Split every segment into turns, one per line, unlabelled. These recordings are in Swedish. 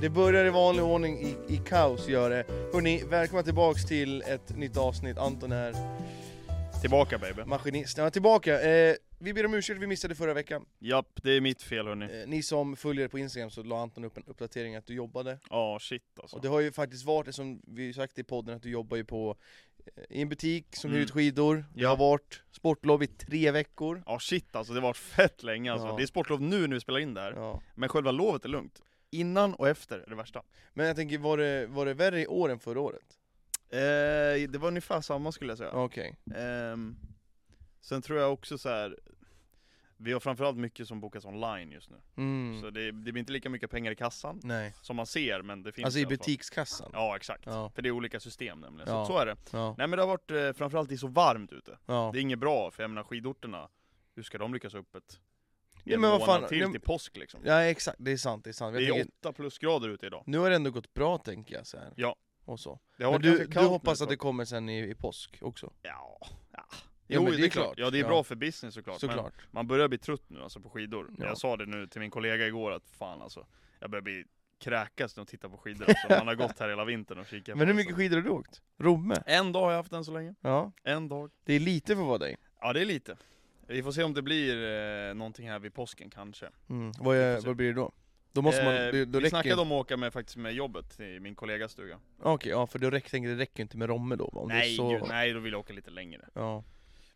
Det börjar i vanlig ordning i, i kaos gör det. Hörni, välkomna tillbaks till ett nytt avsnitt. Anton är
Tillbaka baby.
maskinist. Ja, tillbaka. Eh, vi ber om ursäkt, vi missade förra veckan.
Japp, det är mitt fel hörni.
Eh, ni som följer på Instagram så la Anton upp en uppdatering att du jobbade.
Ja, shit alltså.
Och det har ju faktiskt varit det som vi sagt i podden, att du jobbar ju på eh, i en butik som hyr
Mm.
ut skidor. Det har varit sportlov i tre veckor.
Ja shit alltså, det har varit fett länge alltså.
Ja.
Det är sportlov nu när vi spelar in det här.
Ja.
Men själva lovet är lugnt. Innan och efter är det värsta.
Men jag tänker, var det, var det värre i år än förra året?
Eh, det var ungefär samma skulle jag säga.
Okej.
Ehm, sen tror jag också så här. vi har framförallt mycket som bokas online just nu.
Mm.
Så det, det blir inte lika mycket pengar i kassan
Nej.
som man ser, men det finns
Alltså i
alla fall.
butikskassan?
Ja exakt.
Ja.
För det är olika system nämligen,
Ja.
så, så är det.
Ja.
Nej men det har varit, eh, framförallt det är så varmt ute.
ja.
Det är inget bra, för jag menar skidorterna, hur ska de lyckas öppet? I
Nej,
en
men vad
månad
fan,
till
nej,
till påsk liksom.
Ja exakt, det är sant, det är sant.
det
Jag
är
tänker,
8 plusgrader ute idag.
nu har det ändå gått bra tänker jag så här.
Ja.
Och så.
Det har
Men
varit
du,
ganska
du
kallt
hoppas
nu
att det kommer sen i, i påsk också?
Ja, ja. Jo,
men
det, är klart. Ja det är bra för business såklart.
Såklart.
Men man börjar bli trött nu alltså på skidor.
Ja.
Jag sa det nu till min kollega igår att fan alltså, jag börjar bli kräkas när jag tittar på skidor. Alltså. Man har gått här hela vintern och kikat
Men
på alltså.
hur mycket skidor har du åkt? Romme?
En dag har jag haft än så länge.
Ja.
En dag.
Det är lite för att vara dig.
Ja det är lite. Vi får se om det blir eh, någonting här vid påsken kanske.
Mm. Vad, är,
får se.
vad blir det då? Då måste man,
Eh,
det, då
vi
räcker
snackade
inte...
om att åka med, faktiskt med jobbet till min kollegas stuga.
Okej, ja för då räcker, tänker, jag, det räcker ju inte med Romme då va? Om det är
Nej,
så...
gud, nej, då vill jag åka lite längre.
Ja.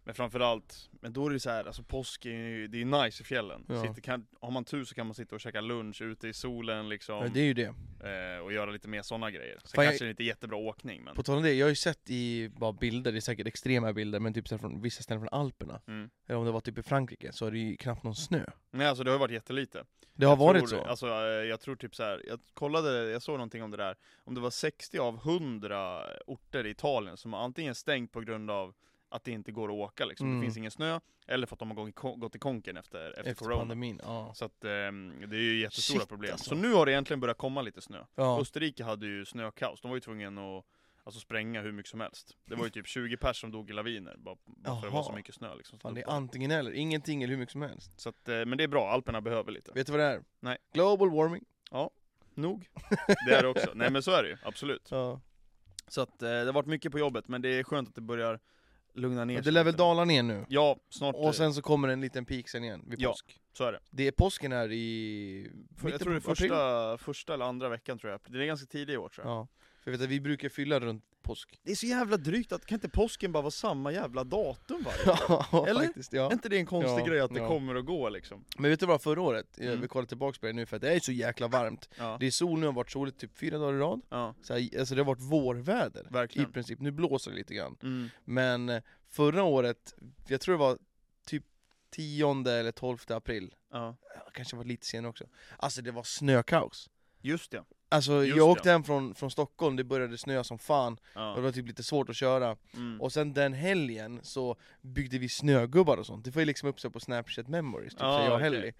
Men framförallt, men då är det så här, alltså påsk är ju, det är ju nice i fjällen.
Ja.
Sitter, kan, har man tur så kan man sitta och käka lunch ute i solen liksom,
ja, det är ju det.
eh, och göra lite mer sådana grejer. Sen
Fan, jag-
kanske det inte är jättebra åkning men,
På tal om det, jag har ju sett i bara bilder, det är säkert extrema bilder, men typ så här från vissa ställen från Alperna.
mm.
Eller om det var typ i Frankrike, så är det ju knappt någon snö.
nej alltså det har ju varit jättelite.
Det har
jag
varit
tror,
så.
Alltså eh, jag tror typ så här, jag kollade, jag såg någonting om det där, om det var 60 av 100 orter i Italien som har antingen stängt på grund av att det inte går att åka liksom,
Mm.
det finns ingen snö, eller för att de har gått, gått i konken efter, efter,
efter
corona.
pandemin, ja.
Så att ehm, det är ju jättestora
Shit,
problem.
alltså.
Så nu har det egentligen börjat komma lite snö.
ja.
Österrike hade ju snökaos, de var ju tvungna att alltså, spränga hur mycket som helst. Det var ju typ 20 pers som dog i laviner, bara, bara för att det var så
Jaha.
mycket snö liksom.
Fan, det är antingen eller, ingenting eller hur mycket som helst.
Så att, eh, men det är bra, Alperna behöver lite.
Vet du vad det är?
Nej.
Global warming.
Nog. Det är det också. Nej men så är det ju, absolut.
Ja.
Så att eh, det har varit mycket på jobbet, men det är skönt att det börjar lugna ner
Men
sig.
det lär väl
lite.
dala ner nu?
Ja, snart. eh,
Och sen så kommer en liten peak sen igen vid
Ja.
påsk.
Så är det.
Det är påsken här i...
För,
mitten
jag tror det är
på april.
första, första eller andra veckan tror jag. Det är ganska tidigt i år tror jag.
Ja. För jag vet att vi brukar fylla runt påsk.
Det är så jävla drygt att, kan inte påsken bara vara samma jävla datum varje år?
Ja,
Eller?
faktiskt. Ja.
Är inte det en konstig
Ja,
grej att det
ja.
kommer och går liksom?
Men vet du vad, förra året, eh,
Mm.
vi kollar tillbaka på det nu för att det är så jäkla varmt.
Ja,
Det är sol nu, har varit soligt typ fyra dagar i rad.
ja
Så här, alltså det har varit vårväder. I
verkligen.
princip, nu blåser det lite grann.
Mm.
Men eh, förra året, jag tror det var typ 10 eller 12 april,
Ja.
Ja, kanske var lite senare också. Alltså det var snökaos.
Just det.
Alltså
Just
jag
det.
åkte hem från, från Stockholm, det började snöa som fan, och det
Ja.
var typ lite svårt att köra.
Mm.
Och sen den helgen så byggde vi snögubbar och sånt, det får ju liksom upp sig på Snapchat memories, typ
Ah,
så jag och
okej.
Helly.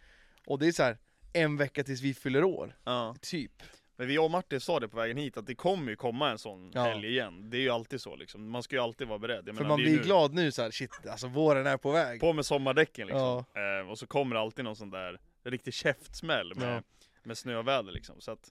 Och det är så här en vecka tills vi fyller år,
Ja.
typ.
Men vi och Martin sa det på vägen hit, att det kommer ju komma en sån
Ja.
helg igen. Det är ju alltid så liksom, man ska ju alltid vara beredd. Jag
För
menar,
man
det är
blir
nu.
glad nu så här, shit alltså våren är på väg.
På med sommardäcken liksom.
Ja.
Eh, och så kommer det alltid någon sån där riktig käftsmäll med,
Ja.
med snöväder liksom. Så att,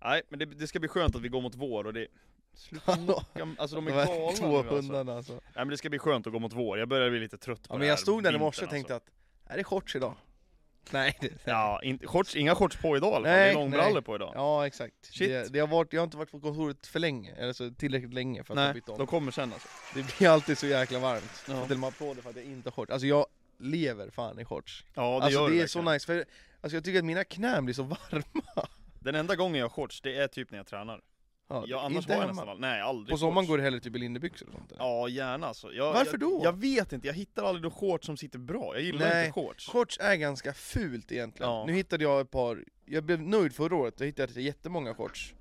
nej men det, det ska bli skönt att vi går mot vår och det... Sluta
Hallå.
mocka- Alltså de
De
är
här
galna
två
nu, alltså.
hundarna alltså.
Nej men det ska bli skönt att gå mot vår, jag börjar bli lite trött på
Ja,
det
men
här
jag stod där i
vintern, alltså.
morse och tänkte att, är det shorts idag? Nej, det,
Ja, inte, shorts, inga shorts på idag i alla fall. det
Nej,
är långbrallor
nej.
på idag.
Ja exakt,
Shit.
Det, det har varit, jag har inte varit på kontoret för länge, eller så tillräckligt länge för att
nej,
jag bytt om
de kommer sen alltså.
Det blir alltid så jäkla varmt,
Ja.
ja. till och med applåder för att jag inte har shorts Alltså jag lever fan i shorts
Ja, det
Alltså
gör
det är
verkligen.
så nice, för alltså, jag tycker att mina knän blir så varma
Den enda gången jag har shorts, det är typ när jag tränar.
ja,
Ja, annars
inte
har jag
hemma.
nästan aldrig, nej aldrig
På sommaren
shorts.
går det hellre typ i linnebyxor och sånt eller?
Ja, gärna alltså. Jag,
Varför
jag,
då?
Jag vet inte, jag hittar aldrig några shorts som sitter bra. Jag gillar
Nej.
inte shorts.
Shorts är ganska fult egentligen,
Ja.
nu hittade jag ett par, jag blev nöjd förra året, jag hittade jättemånga shorts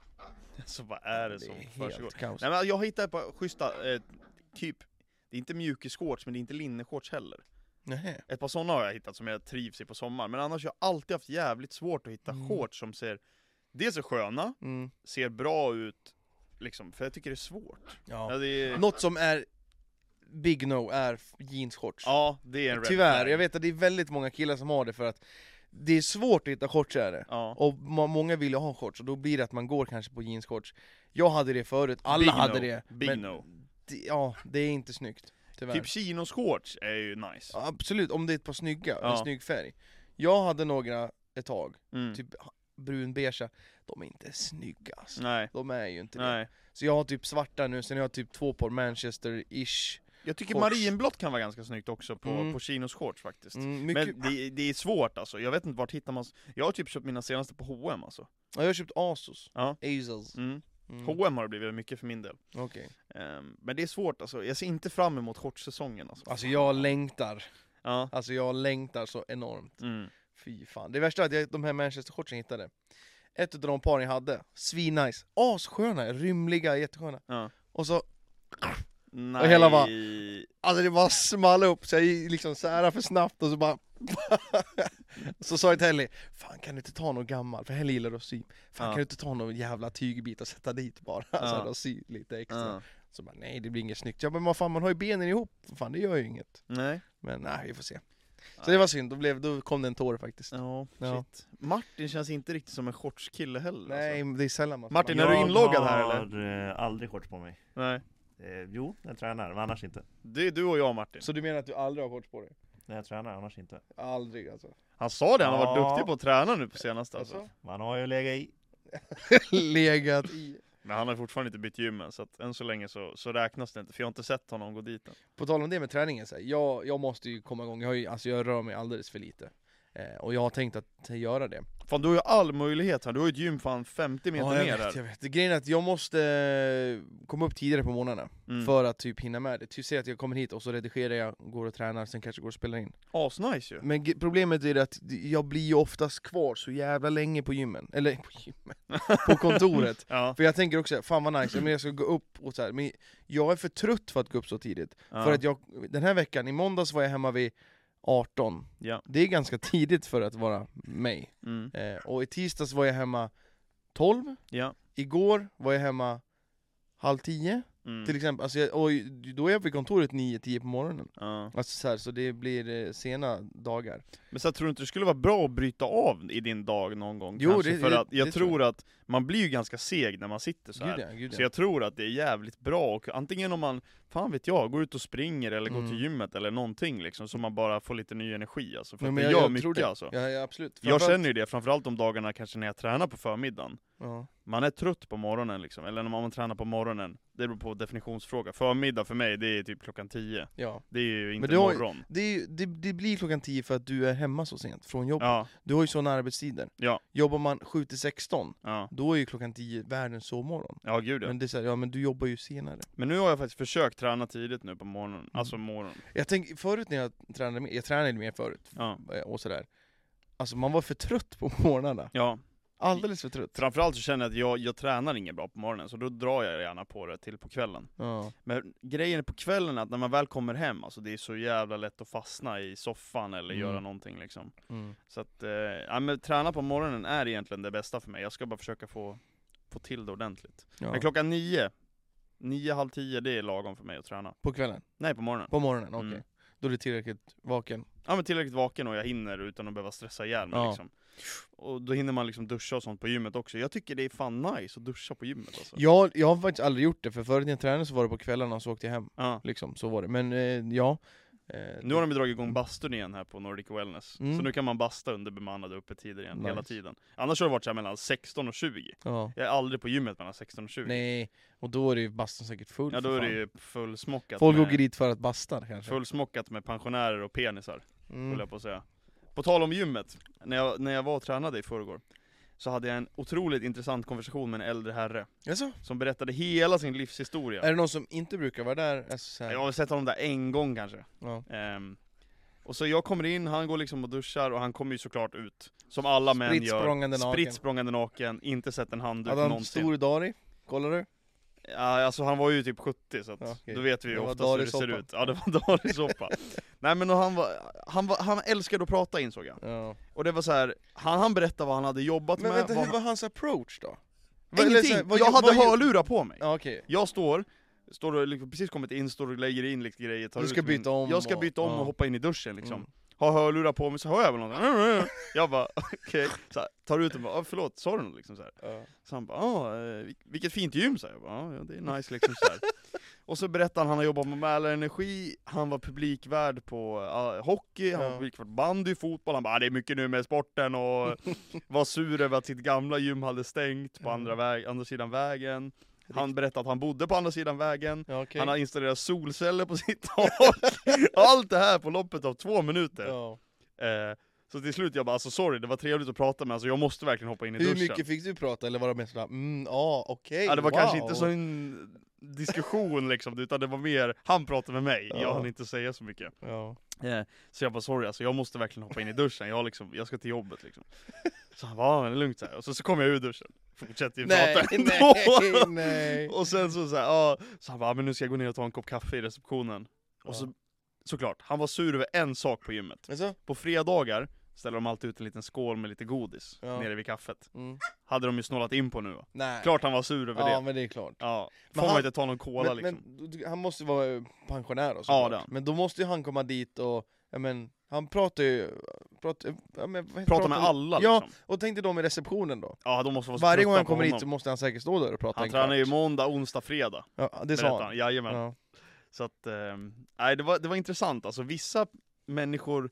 Alltså vad är det som försiggår?
helt kaos
Nej men jag hittar ett par schyssta, eh, typ, det är inte mjukisshorts men det är inte linneshorts heller.
Nej.
Ett par sådana har jag hittat som jag trivs i på sommaren, men annars har jag alltid haft jävligt svårt att hitta
Mm.
shorts som ser, dels är sköna,
Mm.
ser bra ut, liksom, för jag tycker det är svårt.
Ja.
Ja, det är,
Något som är big no är f- jeansshorts
ja, det är en red
Tyvärr,
flag.
jag vet att det är väldigt många killar som har det för att det är svårt att hitta shortsare.
Ja.
Och ma- många vill ju ha shorts, och då blir det att man går kanske på jeansshorts. Jag hade det förut, alla
Big
hade
no.
det.
Big
men
no.
det, ja, det är inte snyggt. Tyvärr.
Typ chinoshorts är ju nice.
Ja, Absolut, om det är ett par snygga,
Ja.
en snygg färg. Jag hade några ett tag,
Mm.
typ brunbeiga, de är inte snygga alltså.
Nej.
De är ju inte det.
Mm. Nej.
Så jag har typ svarta nu, sen har jag typ två par Manchester-ish.
Jag tycker
Shorts.
marinblått kan vara ganska snyggt också på,
Mm.
på chinoshorts faktiskt.
Mm, mycket...
Men det, det är svårt alltså, jag vet inte vart hittar man... s- Jag har typ köpt mina senaste på H&M alltså.
ja, jag har köpt Asos.
Ja.
Asos.
Mm.
Mm.
H&M har det blivit mycket för min del.
Okej.
Ehm, men det är svårt alltså, jag ser inte fram emot shortsäsongen alltså.
Alltså jag längtar.
Ja.
Alltså jag längtar så enormt.
Mm.
Fy fan. Det värsta är att jag, de här Manchester-shortsen jag hittade, ett av de paren jag hade, svinnice, assköna, rymliga, jättesköna.
Ja.
Och så,
Nej.
hela bara- alltså det bara small upp så jag gick liksom särade för snabbt och så bara Så sa jag till Helly, fan kan du inte ta någon gammal, för Helly gillar att sy, fan
Ja.
kan du inte ta någon jävla tygbit och sätta dit bara, så här och sy lite extra.
Ja.
Så bara, nej det blir inget snyggt. Ja men vad fan man har ju benen ihop, fan det gör ju inget.
Nej.
Men nej vi får se. Så
Nej.
det var synd, då, blev, då kom det en tår faktiskt.
Ja,
Ja.
shit. Martin känns inte riktigt som en shortskille heller
Nej
Alltså.
det är sällan man
Martin, är du inloggad här, eller?
Jag har eh, aldrig shorts på mig.
Nej.
Eh, jo, när jag tränar, men annars inte.
Det är du och jag Martin.
Så du menar att du aldrig har shorts på dig?
När jag tränar, annars inte.
Aldrig alltså?
Han sa det, han har varit
Ja.
duktig på att träna nu på senaste alltså.
Man har ju legat i.
Legat i.
Men han har fortfarande inte bytt gym än, så att än så länge så, så räknas det inte, för jag har inte sett honom gå dit än.
På tal om det med träningen, så här, jag, jag måste ju komma igång, jag, har ju, alltså, jag rör mig alldeles för lite. Eh, och jag har tänkt att göra det.
Fan du har ju all möjlighet här, du har ju ett gym fan 50 meter
jag
ner
vet,
här.
jag vet. Grejen är att jag måste eh, komma upp tidigare på morgnarna
Mm.
för att typ hinna med det. Typ säg att jag kommer hit och så redigerar jag, går och tränar, sen kanske går och spelar in.
Asnice ju!
Men ge- problemet är att jag blir ju oftast kvar så jävla länge på gymmen, eller på gymmen, på kontoret.
Ja,
För jag tänker också, fan vad nice, men jag ska gå upp och så här. men jag är för trött för att gå upp så tidigt. För att jag, den här veckan, i måndags var jag hemma vid 18.
Ja.
Det är ganska tidigt för att vara mig.
Mm.
Eh, och i tisdags var jag hemma 12,
Ja.
igår var jag hemma halv 10
Mm.
till exempel. Alltså jag, och då är jag på kontoret 9-10 på morgonen.
Ja.
Alltså så, här, så det blir eh, sena dagar.
Men så här, tror du inte det skulle vara bra att bryta av i din dag någon gång?
Jo,
kanske?
det-
för
det-
att jag
det tror
tror att man blir ju ganska seg när man sitter så här.
Gud ja, gud
Så
ja.
jag tror att det är jävligt bra, och antingen om man, fan vet jag, går ut och springer eller går
Mm.
till gymmet eller någonting liksom, så man bara får lite ny energi alltså, för
Ja,
att
men
det
jag-
gör
jag tror
mycket
det.
alltså.
Ja, ja absolut.
Jag
Framförallt-
känner ju det, framförallt de dagarna kanske när jag tränar på förmiddagen.
Ja.
Man är trött på morgonen liksom, eller när man tränar på morgonen. Det beror på definitionsfråga. Förmiddag för mig, det är typ klockan 10.
ja.
Det är ju inte
du har ju-
morgon.
Det, är ju- det, det blir klockan 10 för att du är hemma så sent från jobbet.
Ja,
Du har ju sådana arbetstider.
Ja.
Jobbar man 7 till 16,
ja,
då är ju klockan 10 världens sovmorgon.
ja gud ja.
Men det är så här, ja men du jobbar ju senare.
Men nu har jag faktiskt försökt träna tidigt nu på morgonen,
Mm.
alltså morgonen.
Jag tänker, förut när jag tränade mer, jag tränade mer förut
Ja.
eh, och sådär. Alltså man var för trött på morgnarna.
ja.
Alldeles för trött.
Framförallt så känner jag att jag, jag tränar inget bra på morgonen, så då drar jag gärna på det till på kvällen.
Ja.
Men grejen på kvällen är att när man väl kommer hem, alltså det är så jävla lätt att fastna i soffan eller
Mm.
göra någonting liksom.
Mm.
Så att, eh, ja, men träna på morgonen är egentligen det bästa för mig. Jag ska bara försöka få, få till det ordentligt.
ja.
Men klockan nio, nio, halv tio, det är lagom för mig att träna.
På kvällen?
Nej, på morgonen.
På morgonen? Okej.
Mm.
Då är du tillräckligt vaken?
Ja men tillräckligt vaken och jag hinner utan att behöva stressa ihjäl mig
Ja.
liksom. Och då hinner man liksom duscha och sånt på gymmet också. Jag tycker det är fan nice att duscha på gymmet alltså.
Jag, jag har faktiskt aldrig gjort det, för förut när jag tränade så var det på kvällarna och så åkte jag hem.
Ja.
Liksom, så var det. Men eh, ja. Eh,
Nu har de ju dragit igång bastun igen här på Nordic Wellness.
Mm.
Så nu kan man basta under bemannade öppettider igen, hela
Nice.
tiden. Annars har det varit så här mellan 16 och 20.
ja.
Jag är aldrig på gymmet mellan 16 och 20.
Nej, och då är det ju bastun säkert full
ja då
för
är det
fan.
ju fullsmockat
Folk
med,
åker dit för att basta kanske.
fullsmockat med pensionärer och penisar, höll
Mm.
jag på att säga. På tal om gymmet, när jag, när jag var och tränade i förrgår, så hade jag en otroligt intressant konversation med en äldre herre.
Jaså?
Som berättade hela sin livshistoria.
Är det någon som inte brukar vara där? Alltså, så här.
Jag har sett honom där en gång kanske.
Ja.
Ehm, och så jag kommer in, han går liksom och duschar och han kommer ju såklart ut. Som alla män
Spritt
gör.
språngande naken.
Spritt språngande naken, inte sett en handduk
Hade han
någonsin.
stor dari? Kollar du?
Ja, alltså han var ju typ 70 så att
Ja, okej.
då vet vi ju
Det var
oftast hur det
Darisoppa.
ser ut. Ja det var Darisoppa. Nej men och han, var, han, var, han älskade att prata insåg jag.
Ja.
Och det var så här, han, han berättade vad han hade jobbat
Men
med.
vänta,
vad,
hur var hans approach då? Eller
ingenting!
så här, vad
jag
gör-
hade
vad gör-
hörlurar på mig.
Ja, okej.
Jag står, står och liksom precis kommit in, står och lägger in lite grejer, tar
Du ska
ut min-
byta om
Jag ska
och-
byta om
ja.
och hoppa in i duschen liksom.
Mm.
har hörlurar på mig så hör jag väl något. Jag bara okej, Så här, tar ut den bara, ah, förlåt, sa du något liksom så här.
Ja.
Så han bara, ah, eh, vil- vilket fint gym säger jag bara, ah, ja det är nice liksom så här. Och så berättar han, han har jobbat med Mälarenergi, han var publikvärd på ah, hockey, han
Ja.
var publikvärd på bandy, fotboll, han bara ah, det är mycket nu med sporten och var sur över att sitt gamla gym hade stängt på
Ja.
andra, väg, andra sidan vägen. Han berättade att han bodde på andra sidan vägen,
Ja, okej.
han har installerat solceller på sitt tak. Allt det här på loppet av två minuter.
ja.
Eh, så till slut jag bara alltså sorry, det var trevligt att prata med, alltså jag måste verkligen hoppa in i
Hur
duschen.
mycket fick du prata eller var det mest sådär, mm, ja okej,
Ja, det var
wow.
kanske inte så en diskussion liksom, utan det var mer, han pratade med mig, jag
Ja.
hann inte säga så mycket.
Ja.
Eh, Så jag bara sorry alltså, jag måste verkligen hoppa in i duschen, jag, har liksom, jag ska till jobbet liksom. Så han bara, "Ja, men det är lugnt så här. Och så, så kom jag ur duschen, fortsätter ju
Nej,
prata ändå.
nej, nej.
Och sen så så här, ja, så han bara, "Ja, men nu ska jag gå ner och ta en kopp kaffe i receptionen. Och så, såklart, han var sur över en sak på gymmet.
Men så?
På fredagar ställer de alltid ut en liten skål med lite godis
Ja.
nere vid kaffet.
Mm.
Hade de ju snålat in på nu va.
Nej.
Klart han var sur över
ja,
det.
men det är klart.
Ja, får
Men
man
han-
inte ta någon cola
men,
liksom?
men du- han måste vara eh, pensionär och så
Ja,
klart.
det är han.
Men då måste ju han komma dit och, ja men, han pratar ju... Pratar, ja, men, vad heter-
Prata med alla
Ja,
liksom?
och tänk dig de i receptionen då.
Ja, de måste vara så
Varje
trötta
gång han
på
kommer hit så
honom.
måste han säkert stå där och prata
Han
en
tränar ju
kvart.
måndag, onsdag, fredag.
Ja, det
Berättar
sa
han.
han.
Jajamän.
Ja.
Så att, ehm, nej det var, det var intressant alltså, vissa människor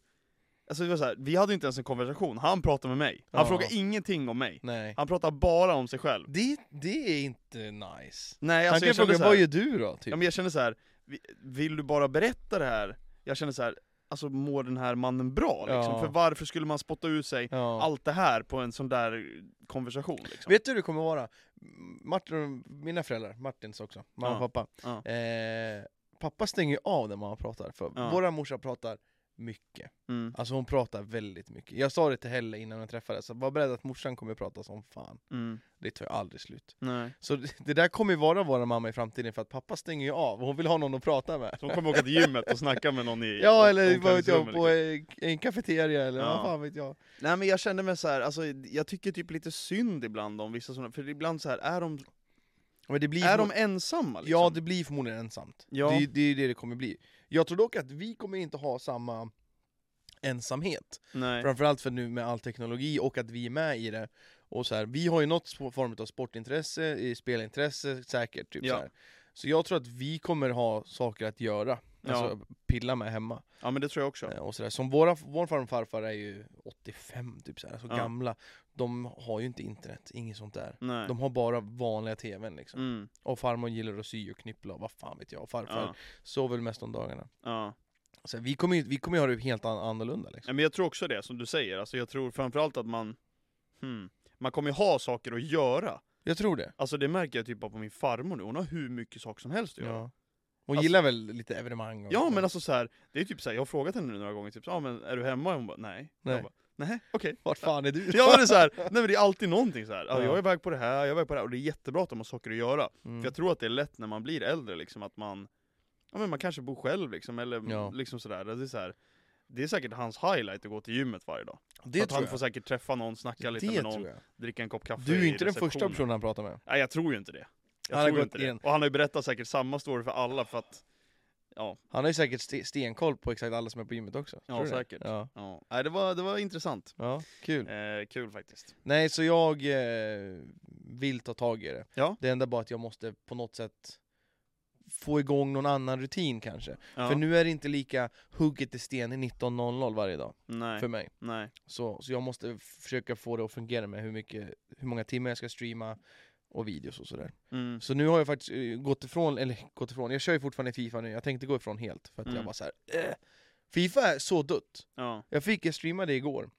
Alltså det var så här, vi hade inte ens en konversation, han pratade med mig. Han
Ja.
frågade ingenting om mig.
Nej.
Han pratade bara om sig själv.
Det, det är inte nice.
Nej
Han kan
alltså
ju
jag kände
fråga
så här,
vad gör du då? Typ.
ja, men jag kände så här, "Vi- vill du bara berätta det här? Jag kände så här, alltså mår den här mannen bra liksom?
Ja.
För varför skulle man spotta ut sig
Ja.
allt det här på en sån där konversation liksom?
Vet du hur det kommer vara? Martin, och- mina föräldrar, Martins också, mamma
Ja,
och pappa.
ja.
Eh, pappa stänger ju av när mamma pratar, för
Ja.
vår morsa pratar mycket.
Mm,
Alltså hon pratar väldigt mycket. Jag sa det till Helle innan jag träffades, så var beredd att morsan kommer prata som fan.
mm,
Det tar ju aldrig slut.
nej.
Så det där kommer ju vara vår mamma i framtiden, för att pappa stänger ju av, och hon vill ha någon att prata med.
Så hon kommer åka till gymmet och snacka med någon i
Ja,
om-
eller vad vet jag,
omklädningsrummet,
på
liksom.
eh, en kafeteria eller
Ja.
vad fan vet jag.
Nej men jag kände mig så här, alltså jag tycker typ lite synd ibland om vissa sådana, för ibland så här är de,
Men det blir
är
förmo-
de ensamma liksom?
Ja, det blir förmodligen ensamt.
Ja.
Det, är- det är det det kommer bli. Jag tror dock att vi kommer inte ha samma ensamhet.
Nej.
Framförallt för nu med all teknologi och att vi är med i det. Och så här, vi har ju något sp- form av sportintresse, eh, spelintresse säkert. Typ
Ja.
så, här. så jag tror att vi kommer ha saker att göra.
Ja.
Alltså pilla med hemma.
Ja men det tror jag också.
Eh, Och så där. Som våra, vår farmor och farfar är ju 85 typ så här, alltså
Ja.
gamla. De har ju inte internet, inget sånt där.
Nej.
De har bara vanliga tvn liksom.
Mm.
Och farmor gillar att sy och knyppla och vad fan vet jag. Och farfar
Ja.
sov väl mest om dagarna.
ja.
Så vi kommer ju vi kommer ju ha det helt an- annorlunda liksom.
Nej, men jag tror också det, som du säger, alltså jag tror framförallt att man, hmm, man kommer ju ha saker att göra.
Jag tror det.
Alltså det märker jag typ bara på min farmor nu, hon har hur mycket saker som helst att göra.
Ja. Hon
Alltså-
gillar väl lite evenemang och
Ja men alltså så här, det är typ så här, jag har frågat henne nu några gånger, typ så, ah, men är du hemma? Hon bara nej.
Nej.
Jag bara, nej, okej.
Vart fan är du?
Ja men det är så här, nej men det är alltid någonting så här. Ja,
Ja.
jag är iväg på det här, jag är iväg på det här, och det är jättebra att de har saker att göra.
Mm.
För jag tror att det är lätt när man blir äldre liksom att man, ja men man kanske bor själv liksom, eller
Ja.
liksom sådär. Det är så här, det är säkert hans highlight att gå till gymmet varje dag. För
det
att han
tror
får
jag.
säkert träffa någon, snacka lite
Det
med någon,
tror jag.
dricka en kopp kaffe
Du är
i
ju inte den första
receptionen.
personen han pratar med.
Nej jag tror ju inte det. Jag
Han har
tror ju
gått
inte det.
in.
Och han har ju berättat säkert samma story för alla för att, ja,
Han har ju säkert ste- stenkoll på exakt alla som är på gymmet också.
Ja,
Tror du det?
säkert.
Ja.
ja. Nej, det, var, det var intressant.
ja, kul.
Eh, kul faktiskt.
Nej, så jag eh, vill ta tag i det.
Ja.
Det enda bara att jag måste på något sätt få igång någon annan rutin kanske.
Ja.
För nu är det inte lika hugget i sten i 19.00 varje dag
nej,
för mig.
nej.
Så, så jag måste f- försöka få det att fungera med hur, mycket, hur många timmar jag ska streama och videos och sådär.
Mm.
Så nu har jag faktiskt eh, gått ifrån, eller gått ifrån, jag kör ju fortfarande Fifa nu, jag tänkte gå ifrån helt för att
Mm.
jag var så här. "Eh, Fifa är så dött.
Ja.
Jag fick, jag streamade igår,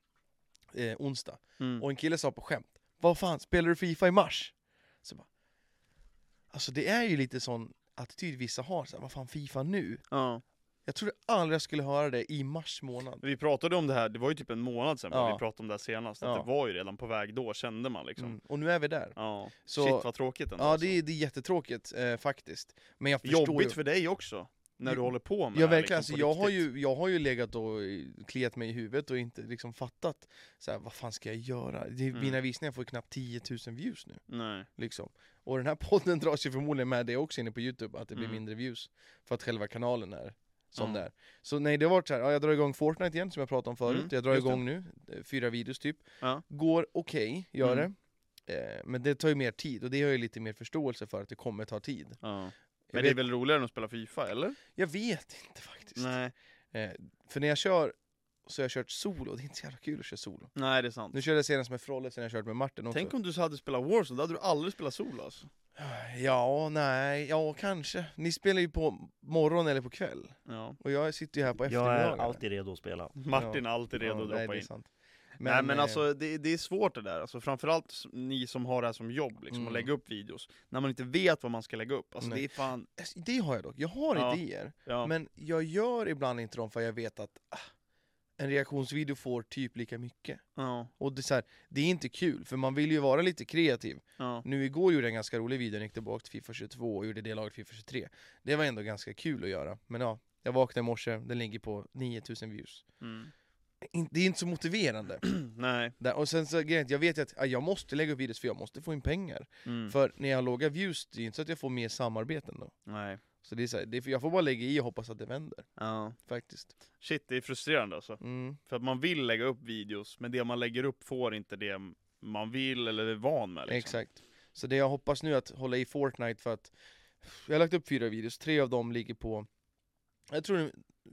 eh, onsdag,
Mm.
och en kille sa på skämt Vad fan, spelar du Fifa i mars? Så jag bara, alltså det är ju lite sån attityd vissa har, så här, vad fan Fifa nu?
ja.
Jag trodde aldrig jag skulle höra det i mars månad.
Vi pratade om det här, det var ju typ en månad sedan
Ja.
vi pratade om det här senast, att
Ja.
det var ju redan på väg då, kände man liksom.
Mm. Och nu är vi där.
Ja.
Så-
Shit vad tråkigt ändå.
Ja
alltså.
det är, det är jättetråkigt eh, faktiskt. Men jag förstår
Jobbigt
ju.
för dig också, när du
Jo,
håller på med
Jag,
det här,
verkligen, alltså,
liksom, på
jag, har
riktigt.
ju, jag har ju legat och eh, kliat mig i huvudet och inte liksom fattat så här, vad fan ska jag göra? Det,
Mm.
Mina visningar får ju knappt 10 000 views nu.
Nej.
Liksom. Och den här podden dras ju förmodligen med det också inne på Youtube, att det blir
Mm.
mindre views. För att själva kanalen är som
Ja.
det är. Så nej, det har varit så här, ja, jag drar igång Fortnite igen som jag pratade om förut,
Mm,
jag drar
just det.
igång nu, eh, fyra videos typ.
Ja.
Går okej, gör
Mm.
det. Eh, Men det tar ju mer tid, och det har jag ju lite mer förståelse för att det kommer ta tid. Jag,
Ja. Men det är
vet,
väl roligare än att spela Fifa, eller?
jag vet inte faktiskt.
Nej,
Eh, För när jag kör, så har jag kört solo, det är inte så jävla kul att köra solo.
nej det är sant.
Nu körde jag senast med Frolle, sen har jag kört med Martin också.
Tänk om du hade spelat Warzone, då hade du aldrig spelat solo alltså.
Ja, nej, ja kanske. Ni spelar ju på morgon eller på kväll.
Ja.
Och jag sitter ju här på
Jag är
eftermiddagen.
alltid redo att spela.
Martin är alltid redo
nej,
att droppa
det är
in.
sant.
Nej men
eh,
alltså det, det är svårt det där, alltså, framförallt s- ni som har det här som jobb, liksom,
Mm.
att lägga upp videos. När man inte vet vad man ska lägga upp, alltså
Nej.
det är fan...
Det har jag dock, jag har
Ja.
idéer.
Ja.
Men jag gör ibland inte dem för jag vet att ah, en reaktionsvideo får typ lika mycket.
Ja,
Och det är, så här, det är inte kul, för man vill ju vara lite kreativ.
ja.
Nu igår gjorde jag en ganska rolig video, jag gick tillbaka till Fifa 22 och gjorde det laget Fifa 23. Det var ändå ganska kul att göra. Men ja, jag vaknade i morse, den ligger på 9000 views.
Mm.
In- Det är inte så motiverande.
Nej.
Där, och sen så grejen är att jag vet ju att ja, jag måste lägga upp videos för jag måste få in pengar.
Mm.
För när jag har låga views, det är ju inte så att jag får mer samarbeten då.
Nej.
Så det är så här, det, är- jag får bara lägga i och hoppas att det vänder,
Ja.
faktiskt.
Shit, det är frustrerande alltså.
Mm.
För att man vill lägga upp videos, men det man lägger upp får inte det man vill eller är van med. Liksom.
Exakt. Så det jag hoppas nu är att hålla i Fortnite för att jag har lagt upp fyra videos, tre av dem ligger på, jag tror det-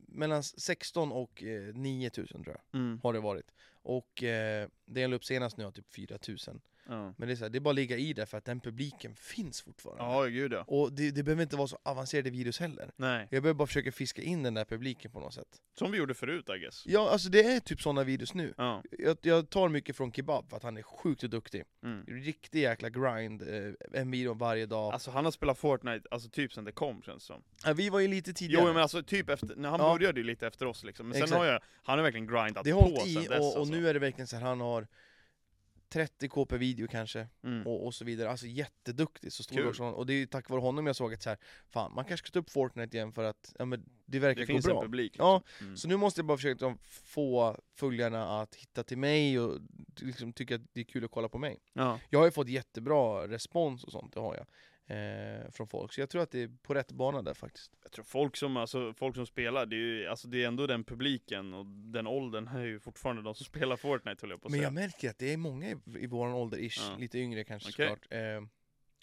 mellan 16 och eh, 9000 tror jag,
Mm.
har det varit. Och eh, det jag la upp senast nu har typ 4000.
Ja.
Men det är, så här, det är bara att ligga i där för att den publiken finns fortfarande.
ja, gud ja.
Och det, det behöver inte vara så avancerade videos heller.
Nej.
Jag behöver bara försöka fiska in den där publiken på något sätt.
Som vi gjorde förut, I guess.
Ja, alltså det är typ sådana videos nu.
Ja.
Jag, jag tar mycket från Kebab för att han är sjukt duktig.
Mm.
Riktig jäkla grind, eh, en video varje dag.
Alltså han har spelat Fortnite, alltså typ sen det kom känns det som.
Ja, vi var ju lite
Jo
tidigare.
men alltså typ efter, när han
Ja.
började ju lite efter oss liksom. Men sen
Exakt.
har jag, han har verkligen grindat
det har
på
hållit
sen
i
dess
och, och
alltså.
nu är det verkligen så här, han har 30 k per video kanske,
Mm.
och, och så vidare. Alltså jätteduktig, så stor
Kul.
också. Och det är ju tack vare honom jag såg att så här, fan man kanske ska ta upp Fortnite igen för att ja, men det verkar
Det
gå
finns en
bra.
publik liksom.
Ja,
Mm.
Så nu måste jag bara försöka liksom få följarna att hitta till mig och liksom tycka att det är kul att kolla på mig.
ja.
Jag har ju fått jättebra respons och sånt, det har jag. Eh, från folk, så jag tror att det är på rätt bana där faktiskt.
Jag tror folk som, alltså, folk som spelar, det är ju, alltså det är ändå den publiken och den åldern är ju fortfarande de som spelar Fortnite höll jag på att
Men
säga.
jag märker att det är många i, i vår ålder ish,
Ja.
lite yngre kanske
Okej.
såklart. Eh,